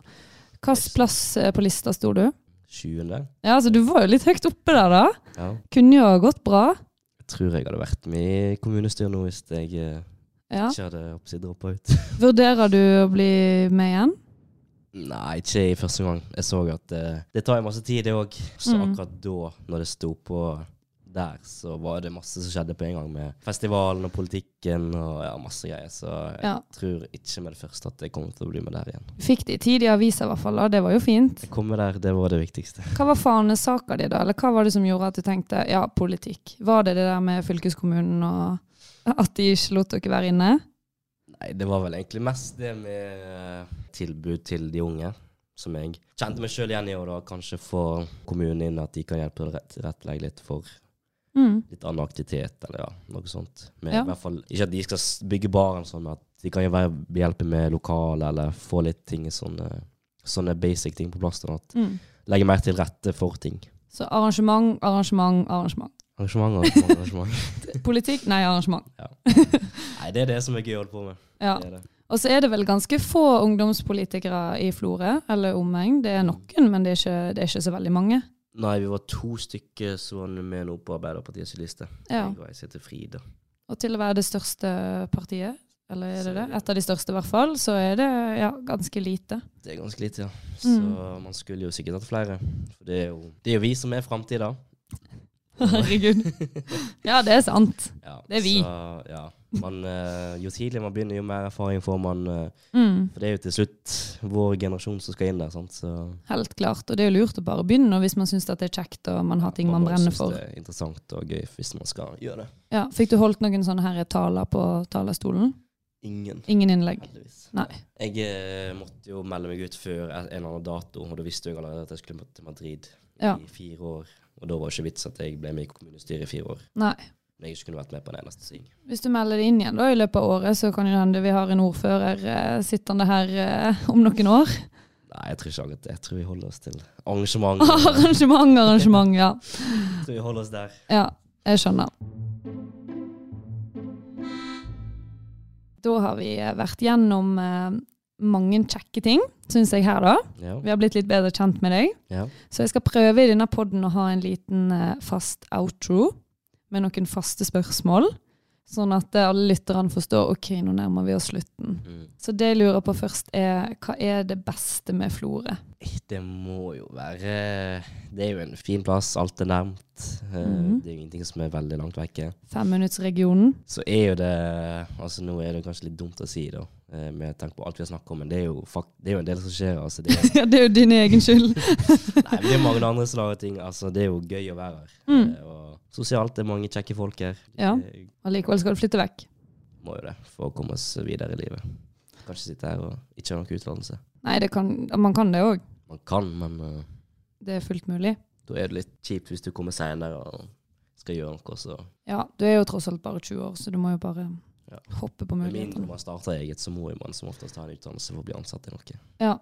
Speaker 1: Hvilken plass eh, på lista sto du?
Speaker 2: 20.
Speaker 1: Ja, altså Du var jo litt høyt oppe der, da.
Speaker 2: Ja.
Speaker 1: Kunne jo ha gått bra.
Speaker 2: Jeg tror jeg hadde vært med i kommunestyret nå hvis jeg eh,
Speaker 1: Ja.
Speaker 2: ikke hadde droppa ut.
Speaker 1: Vurderer du å bli med igjen?
Speaker 2: Nei, ikke i første gang. Jeg så at eh, det tar jo masse tid, det òg. Så
Speaker 1: Mm.
Speaker 2: akkurat da, når det sto på der, så var det masse som skjedde på en gang med festivalen og politikken og ja, masse greier. Så jeg
Speaker 1: Ja.
Speaker 2: tror ikke med det første at jeg kommer til å bli med der igjen.
Speaker 1: Du fikk det i tid i avisa, i hvert fall. da, Det var jo fint.
Speaker 2: Jeg kommer der, det var det viktigste.
Speaker 1: Hva var fanesaka di, da? Eller hva var det som gjorde at du tenkte ja, politikk? Var det det der med fylkeskommunen og at de ikke lot dere være inne?
Speaker 2: Nei, det var vel egentlig mest det med eh, tilbud til de unge, som jeg kjente meg sjøl igjen i, og da kanskje få kommunen inn at de kan hjelpe å rett- tilrettelegge litt for
Speaker 1: Mm.
Speaker 2: litt annen aktivitet, eller ja, noe sånt. Men
Speaker 1: Ja.
Speaker 2: i hvert fall ikke at de skal s- bygge baren sånn, men at de kan jo være behjelpe med lokale, eller få litt ting sånne, sånne basic ting på plass, sånn at
Speaker 1: Mm.
Speaker 2: legge mer til rette for ting.
Speaker 1: Så arrangement, arrangement, arrangement.
Speaker 2: Arrangement, arrangement, arrangement.
Speaker 1: Politikk? Nei, arrangement.
Speaker 2: Nei, det er det som er gøy å holde på med.
Speaker 1: Ja.
Speaker 2: Det er det.
Speaker 1: Og så er det vel ganske få ungdomspolitikere i Florø, eller omegn. Det er noen, men det er ikke, det er ikke så veldig mange.
Speaker 2: Nei, vi var to stykker som var med nå på Arbeiderpartiets liste.
Speaker 1: Ja.
Speaker 2: Jeg og jeg heter Frida.
Speaker 1: Og til å være det største partiet, eller er det
Speaker 2: Så-
Speaker 1: det? Et av de største i hvert fall, så er det ja, ganske lite.
Speaker 2: Det er ganske lite, ja. Så
Speaker 1: Mm.
Speaker 2: man skulle jo sikkert hatt flere. For det er jo, det er jo vi som er framtida.
Speaker 1: Herregud. Ja, det er sant.
Speaker 2: Ja,
Speaker 1: Det er vi.
Speaker 2: Så, ja. Man, eh, jo tidligere man begynner, jo mer erfaring får man. eh,
Speaker 1: Mm,
Speaker 2: for det er jo til slutt vår generasjon som skal inn der. sant? Så
Speaker 1: helt klart. Og det er jo lurt å bare begynne hvis man syns det er kjekt og man har ting man
Speaker 2: må jo
Speaker 1: brenner
Speaker 2: synes
Speaker 1: for.
Speaker 2: Det er interessant og gøy hvis man skal gjøre det.
Speaker 1: Ja, Fikk du holdt noen sånne her taler på talerstolen?
Speaker 2: Ingen,
Speaker 1: Ingen innlegg?
Speaker 2: heldigvis.
Speaker 1: Nei.
Speaker 2: Jeg eh, måtte jo melde meg ut før en eller annen dato, og da visste jeg allerede at jeg skulle til Madrid
Speaker 1: Ja.
Speaker 2: i fire år. Og da var det ikke vits at jeg ble med i kommunestyret i fire år.
Speaker 1: Nei.
Speaker 2: Men jeg ikke kunne vært med på en eneste ting.
Speaker 1: Hvis du melder det inn igjen da, i løpet av året, så kan det hende vi har en ordfører eh, sittende her eh, om noen år.
Speaker 2: Nei, jeg tror ikke akkurat det. Jeg tror vi holder oss til arrangement. jeg
Speaker 1: arrangement, arrangement, ja.
Speaker 2: tror vi holder oss der.
Speaker 1: Ja, jeg skjønner. Da har vi eh, vært gjennom eh, mange kjekke ting, syns jeg her da.
Speaker 2: Ja.
Speaker 1: Vi har blitt litt bedre kjent med deg.
Speaker 2: ja.
Speaker 1: Så jeg skal prøve i denne podden å ha en liten eh, fast outro med noen faste spørsmål. Sånn at eh, alle lytterne forstår ok, nå nærmer vi oss slutten.
Speaker 2: Mm.
Speaker 1: Så det jeg lurer på først er, hva er det beste med Florø?
Speaker 2: Eh, Det må jo være Det er jo en fin plass. Alt er nærmt. Eh,
Speaker 1: Mhm.
Speaker 2: Det er jo ingenting som er veldig langt vekke.
Speaker 1: Femminuttsregionen?
Speaker 2: Så er jo det Altså Nå er det kanskje litt dumt å si, da, eh, med tanke på alt vi har snakket om, men det er jo, fakt, det er jo en del som skjer. Altså, det, er,
Speaker 1: Ja, det er jo din egen skyld.
Speaker 2: nei, men det er mange andre som lager ting. Altså, det er jo gøy å være her. Eh, Og sosialt det er mange kjekke folk her.
Speaker 1: Mm, Ja.
Speaker 2: Eh,
Speaker 1: Og likevel skal du flytte vekk.
Speaker 2: må jo det for å komme oss videre i livet. Kanskje sitte her og ikke ha noe utdannelse.
Speaker 1: Nei, det kan, man kan det òg.
Speaker 2: Man kan, men eh,
Speaker 1: Det er fullt mulig.
Speaker 2: da er det litt kjipt hvis du kommer seinere og skal gjøre noe, så
Speaker 1: Ja, du er jo tross alt bare 20 år, så du må jo bare
Speaker 2: Ja.
Speaker 1: hoppe på
Speaker 2: Med mindre
Speaker 1: mulighetene.
Speaker 2: man starter eget, så må jo man som oftest ha en utdannelse for å bli ansatt i noe.
Speaker 1: Ja,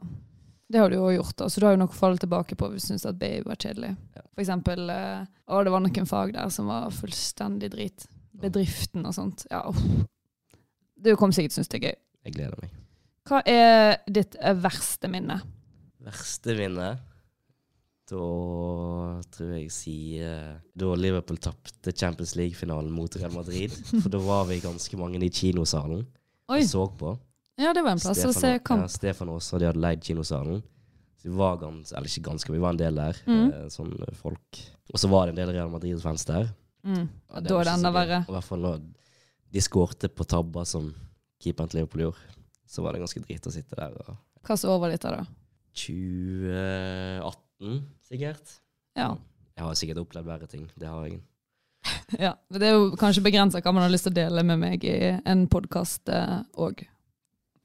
Speaker 1: det har du jo også gjort, da, så du har jo noe å falle tilbake på hvis du syns at BI var kjedelig.
Speaker 2: Ja.
Speaker 1: For eksempel eh, Å, det var noen fag der som var fullstendig drit. Bedriften og sånt. Ja, uff. Du kommer sikkert til å synes det er gøy.
Speaker 2: Jeg gleder meg.
Speaker 1: Hva er ditt eh, verste minne?
Speaker 2: Verste minne? Da tror jeg jeg sier da Liverpool tapte Champions League-finalen mot Real Madrid. For da var vi ganske mange i kinosalen
Speaker 1: Oi.
Speaker 2: og så på.
Speaker 1: Ja, det var en plass å se
Speaker 2: Stefan-
Speaker 1: kamp.
Speaker 2: Ja, Stefan Aas og de hadde leid kinosalen. Så vi var gans, eller ikke ganske, vi var en del der.
Speaker 1: Mm.
Speaker 2: Eh, sånn folk. Og så var det en del Real Madrid-fans der.
Speaker 1: Mm.
Speaker 2: Ja,
Speaker 1: Da
Speaker 2: var
Speaker 1: er det
Speaker 2: ikke
Speaker 1: enda
Speaker 2: så gøy.
Speaker 1: verre.
Speaker 2: I hvert fall når de skårte på tabber som keeperen til Liverpool gjorde, så var det ganske drit å sitte der. Og
Speaker 1: Hvilket år var dette, da?
Speaker 2: 2018, sikkert.
Speaker 1: Ja.
Speaker 2: Jeg har sikkert opplevd verre ting. Det har jeg.
Speaker 1: ja. Det er jo kanskje begrensa hva man har lyst til å dele med meg i en eh, podkast òg.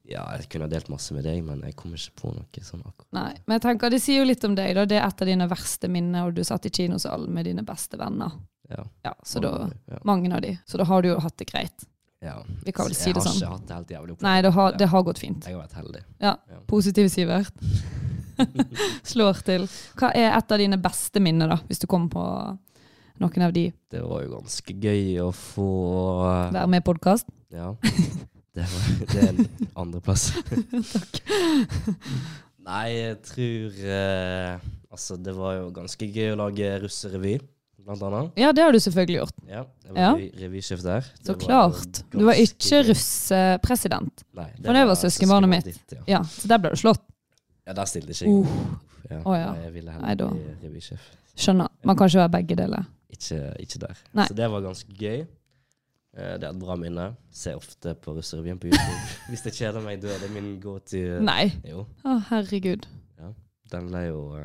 Speaker 2: Ja, jeg kunne ha delt masse med deg, men jeg kom ikke på noe sånn akkurat.
Speaker 1: Nei, men jeg tenker, Det sier jo litt om deg. da, Det er et av dine verste minner, og du satt i kinosalen med dine beste venner.
Speaker 2: Ja.
Speaker 1: Ja, så da,
Speaker 2: ja.
Speaker 1: Mange av de. Så da har du jo hatt det greit.
Speaker 2: ja.
Speaker 1: Vi kan vel
Speaker 2: Så
Speaker 1: si det sånn.
Speaker 2: Jeg har ikke hatt det helt jævlig opp.
Speaker 1: Nei, det har, det har gått fint.
Speaker 2: Jeg har vært heldig.
Speaker 1: Ja, Positiv Sivert. Slår til. Hva er et av dine beste minner, da, hvis du kommer på noen av de?
Speaker 2: Det var jo ganske gøy å få
Speaker 1: Være med i podkast?
Speaker 2: Ja. Det, var, det er en andreplass. Nei, jeg tror eh, Altså, det var jo ganske gøy å lage russerevy, blant annet.
Speaker 1: Ja, det har du selvfølgelig gjort.
Speaker 2: Ja, jeg var
Speaker 1: Ja.
Speaker 2: revy- revysjef der. Det
Speaker 1: Så
Speaker 2: var
Speaker 1: klart.
Speaker 2: ganske
Speaker 1: Du var ikke
Speaker 2: gøy.
Speaker 1: russepresident.
Speaker 2: Nei,
Speaker 1: for det var søskenbarnet mitt.
Speaker 2: ditt, ja.
Speaker 1: Ja, så der ble du slått.
Speaker 2: ja, der stilte ikke jeg.
Speaker 1: Uh,
Speaker 2: Ja.
Speaker 1: Å, ja.
Speaker 2: Nei, Jeg ville
Speaker 1: Nei, da.
Speaker 2: heller bli revysjef.
Speaker 1: skjønner. Man kan ikke være begge deler.
Speaker 2: Ikke, ikke der.
Speaker 1: Nei.
Speaker 2: Så det var ganske gøy. Eh, Det er et bra minne. Ser ofte på russerevyen på YouTube. Hvis det kjeder meg, da er det min go-to.
Speaker 1: Nei.
Speaker 2: Jo,
Speaker 1: Å, herregud.
Speaker 2: den ble jo eh,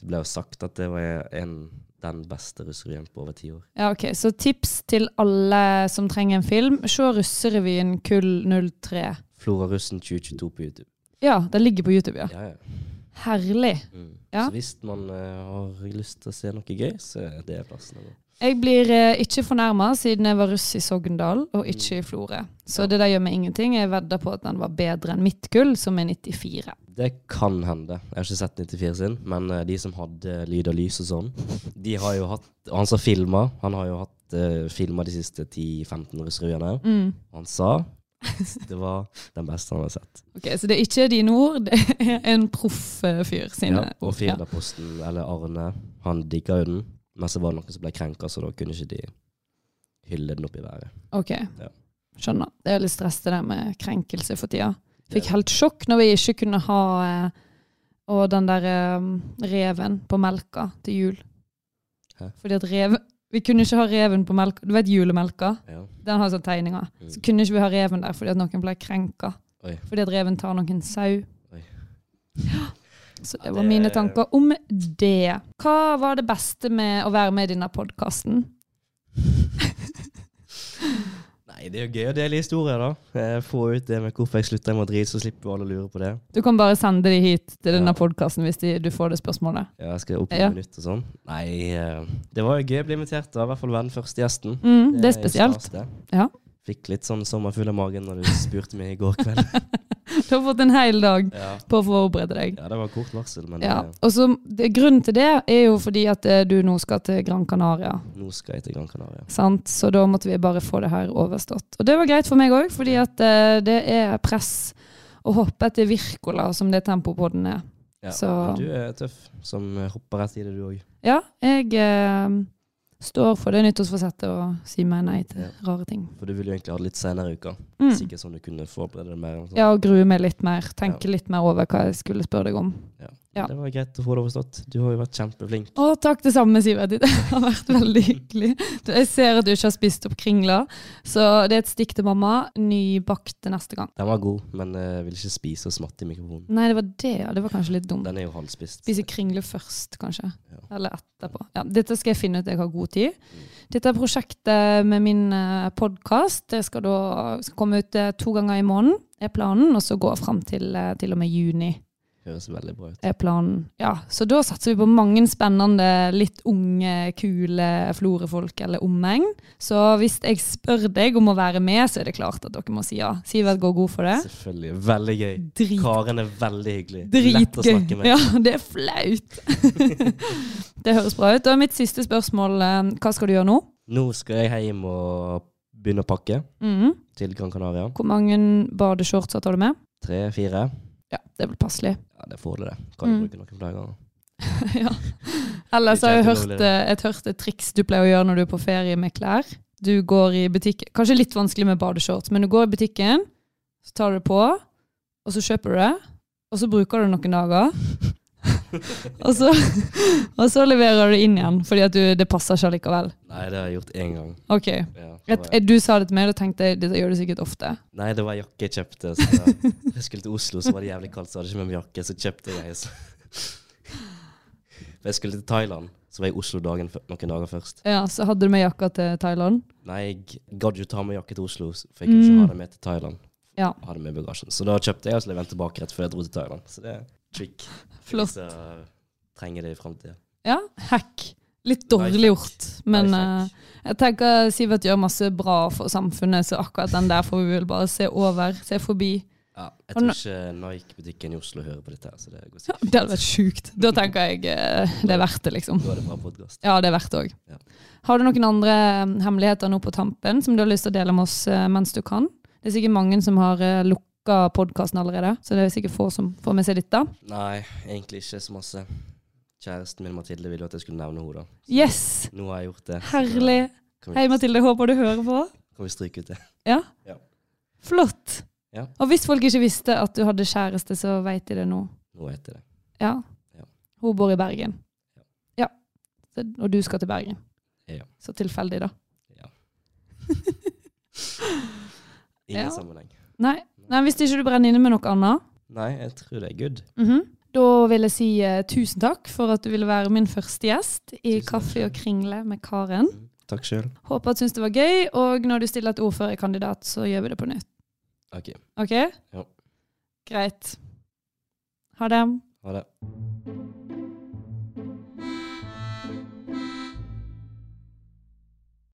Speaker 2: Det ble jo sagt at det var en, den beste russerevyen på over ti år.
Speaker 1: Ja, ok. Så tips til alle som trenger en film. Se Russerevyen kull 03.
Speaker 2: Florarussen 2022 på YouTube.
Speaker 1: Ja, den ligger på YouTube, ja.
Speaker 2: Ja, ja.
Speaker 1: Herlig.
Speaker 2: Mm.
Speaker 1: Ja.
Speaker 2: Så hvis man eh, har lyst til å se noe gøy, så er det plassen å gå.
Speaker 1: Jeg blir eh, ikke fornærma siden jeg var russ i Sogndal og ikke i Florø. Så
Speaker 2: Mm. Ja.
Speaker 1: det der gjør meg ingenting. Jeg vedder på at den var bedre enn mitt gull, som er 94.
Speaker 2: Det kan hende. Jeg har ikke sett 94 sin, men eh, de som hadde lyd og lys og sånn, de har jo hatt Og han som filma, han har jo hatt uh, filma de siste 10-15 russerevyene.
Speaker 1: Mm.
Speaker 2: Han sa det var den beste han har sett.
Speaker 1: Ok, Så det er ikke dine ord, det er en proff eh, fyr sine
Speaker 2: Ja, og
Speaker 1: ord. Ja.
Speaker 2: Firdaposten, eller Arne, han digga jo den, men så var det noen som ble krenka, så da kunne ikke de hylle den opp i været.
Speaker 1: Ok,
Speaker 2: Ja.
Speaker 1: skjønner. Det er litt stress det der med krenkelse for tida. Fikk helt sjokk når vi ikke kunne ha eh, og den der eh, reven på melka til jul.
Speaker 2: Hæ?
Speaker 1: Fordi at rev, vi kunne ikke ha reven på melka. Du vet julemelka?
Speaker 2: Ja.
Speaker 1: Den har sånn tegninger.
Speaker 2: Mm.
Speaker 1: Så kunne ikke vi ha reven der fordi at noen ble krenka.
Speaker 2: Oi.
Speaker 1: Fordi at reven tar noen sau.
Speaker 2: Oi.
Speaker 1: Ja. Så det
Speaker 2: Ja,
Speaker 1: var
Speaker 2: det-
Speaker 1: mine tanker om det. Hva var det beste med å være med i denne podkasten?
Speaker 2: Nei, det er jo gøy å dele historier, da. Eh, Få ut det med hvorfor jeg slutta med å drite, så slipper jo alle å lure på det.
Speaker 1: Du kan bare sende de hit til denne
Speaker 2: Ja.
Speaker 1: podkasten hvis de, du får det spørsmålet.
Speaker 2: Ja, jeg skal opp på
Speaker 1: Ja.
Speaker 2: minutt og sånn. Nei, eh, det var jo gøy å bli invitert, da. I hvert fall være den første gjesten.
Speaker 1: Mm, det er
Speaker 2: jo
Speaker 1: spesielt.
Speaker 2: stas, det.
Speaker 1: Ja.
Speaker 2: Fikk litt sånn sommerfugl i magen når du spurte meg i går kveld.
Speaker 1: Du har fått en hel dag
Speaker 2: ja.
Speaker 1: på å forberede deg.
Speaker 2: ja, det var kort varsel, men
Speaker 1: Ja,
Speaker 2: eh,
Speaker 1: og så det- Grunnen til det er jo fordi at eh, du nå skal til Gran Canaria.
Speaker 2: nå skal jeg til Gran Canaria.
Speaker 1: Sant? Så da måtte vi bare få det her overstått. Og det var greit for meg òg, fordi at eh, det er press å hoppe etter Virkola, som det tempopodden er.
Speaker 2: Ja.
Speaker 1: Så-
Speaker 2: Men du er tøff som eh, hopper rett i det, du òg.
Speaker 1: Ja, jeg eh, står for det nyttårsforsettet å si meg nei til
Speaker 2: Ja.
Speaker 1: rare ting.
Speaker 2: For du ville jo egentlig ha det litt senere i uka.
Speaker 1: Mm.
Speaker 2: Sikkert sånn du kunne forberede deg mer. og sånn.
Speaker 1: Ja, og grue meg litt mer. Tenke litt mer over hva jeg skulle spørre deg om. ja.
Speaker 2: Det var greit å få det overstått. Du har jo vært kjempeflink.
Speaker 1: Å, takk det samme, Sivert. Det har vært veldig hyggelig. Du, Jeg ser at du ikke har spist opp kringla, så det er et stikk til mamma. Nybakt neste gang.
Speaker 2: Den var god, men eh, jeg vil ikke spise og smatte i mikrofonen.
Speaker 1: Nei, det var det, ja. Det var kanskje litt dumt.
Speaker 2: Den er jo halvspist.
Speaker 1: Mm. Spise kringle først, kanskje.
Speaker 2: Ja.
Speaker 1: Eller etterpå. Ja, dette skal jeg finne ut, jeg har god tid. Dette prosjektet med min podkast skal da skal komme ut eh, to ganger i måneden, er planen. Og så gå fram til, eh, til og med juni,
Speaker 2: Høres veldig bra ut.
Speaker 1: er planen. Ja, Så da satser vi på mange spennende, litt unge, kule florefolk eller omegn. Så hvis jeg spør deg om å være med, så er det klart at dere må si ja. Sivert går god for det.
Speaker 2: Selvfølgelig. Veldig gøy.
Speaker 1: Drit
Speaker 2: Karen er veldig hyggelig. Lett å snakke
Speaker 1: Dritgøy.
Speaker 2: med.
Speaker 1: Ja, det er flaut. det høres bra ut. Da er mitt siste spørsmål eh, hva skal du gjøre nå?
Speaker 2: Nå skal jeg hjem og begynne å pakke
Speaker 1: Mhm.
Speaker 2: til Gran Canaria.
Speaker 1: Hvor mange badeshorts tar du med?
Speaker 2: Tre-fire.
Speaker 1: Ja, det er vel passelig.
Speaker 2: Ja, det får du det. Kan du
Speaker 1: Mm.
Speaker 2: bruke noen flere ganger.
Speaker 1: ja. Ellers
Speaker 2: Det
Speaker 1: har
Speaker 2: er
Speaker 1: jeg
Speaker 2: ikke
Speaker 1: hørt
Speaker 2: helt ulovlig,
Speaker 1: eh, et, hørt et triks du pleier å gjøre når du er på ferie med klær. Du går i butikken Kanskje litt vanskelig med badeshorts, men du går i butikken, så tar du det på, og så kjøper du det, og så bruker du det noen dager. Og så, og så leverer du inn igjen, fordi at du, det passer ikke likevel.
Speaker 2: Nei, det har jeg gjort én gang.
Speaker 1: Ok.
Speaker 2: Ja, det
Speaker 1: Et,
Speaker 2: var,
Speaker 1: et, du sa det til meg, og da tenkte jeg dette gjør du sikkert ofte.
Speaker 2: nei, det var en jakke jeg kjøpte. Så jeg, jeg skulle til Oslo, så var det jævlig kaldt, så hadde jeg ikke med meg jakke, så kjøpte jeg en. Men jeg skulle til Thailand, så var jeg i Oslo dagen, før- noen dager først.
Speaker 1: Ja, Så hadde du med jakka til Thailand.
Speaker 2: Nei, jeg gadd ikke ta med jakke til Oslo, for jeg kunne ikke ha det med til Thailand.
Speaker 1: Mm. Ja.
Speaker 2: Ha det med i bagasjen. Så da kjøpte jeg, og så leverte jeg tilbake rett før jeg dro til Thailand. Så det er trick.
Speaker 1: Flott.
Speaker 2: Hvis jeg trenger det i fremtiden.
Speaker 1: Ja, hack. Litt dårlig gjort, men
Speaker 2: Lifehack.
Speaker 1: eh, jeg tenker Sivert gjør masse bra for samfunnet, så akkurat den der får vi vel bare se over, se forbi.
Speaker 2: Ja, jeg
Speaker 1: Og
Speaker 2: tror
Speaker 1: nå-
Speaker 2: ikke Nike-butikken i Oslo hører på dette, her, så det går
Speaker 1: Ja,
Speaker 2: sikkert.
Speaker 1: det hadde vært sjukt. Da tenker jeg eh, det er verdt det, liksom.
Speaker 2: Da er det bra podcast.
Speaker 1: Ja, det er verdt det òg.
Speaker 2: Ja.
Speaker 1: Har du noen andre eh, hemmeligheter nå på tampen som du har lyst til å dele med oss eh, mens du kan? Det er sikkert mange som har eh, lukka podkasten allerede, så det er sikkert få som får med seg dette.
Speaker 2: Nei, egentlig ikke så masse. Kjæresten min Mathilde ville jo at jeg skulle nevne henne. da.
Speaker 1: Yes!
Speaker 2: Nå har jeg gjort det. så da
Speaker 1: Herlig.
Speaker 2: Kan vi,
Speaker 1: Hei, Mathilde. Håper du hører på.
Speaker 2: Kan vi stryke ut det?
Speaker 1: Ja.
Speaker 2: Ja.
Speaker 1: Flott.
Speaker 2: Ja.
Speaker 1: Og hvis folk ikke visste at du hadde kjæreste, så veit de det nå.
Speaker 2: Nå heter det.
Speaker 1: Ja.
Speaker 2: Ja.
Speaker 1: Hun bor i Bergen.
Speaker 2: Ja.
Speaker 1: Ja. Så, og du skal til Bergen.
Speaker 2: Ja.
Speaker 1: Så tilfeldig, da.
Speaker 2: Ingen
Speaker 1: Ja.
Speaker 2: sammenheng.
Speaker 1: Nei, Nei hvis ikke du brenner inne med noe annet.
Speaker 2: Nei, jeg tror det er good.
Speaker 1: Mhm. Da vil jeg si eh, tusen takk for at du ville være min første gjest i
Speaker 2: Tusen takk
Speaker 1: Kaffe
Speaker 2: selv.
Speaker 1: og kringle med Karen.
Speaker 2: Takk sjøl.
Speaker 1: Håper at du syns det var gøy, og når du stiller et ordførerkandidat, så gjør vi det på nytt.
Speaker 2: OK.
Speaker 1: OK?
Speaker 2: Ja.
Speaker 1: Greit. Ha det.
Speaker 2: Ha det.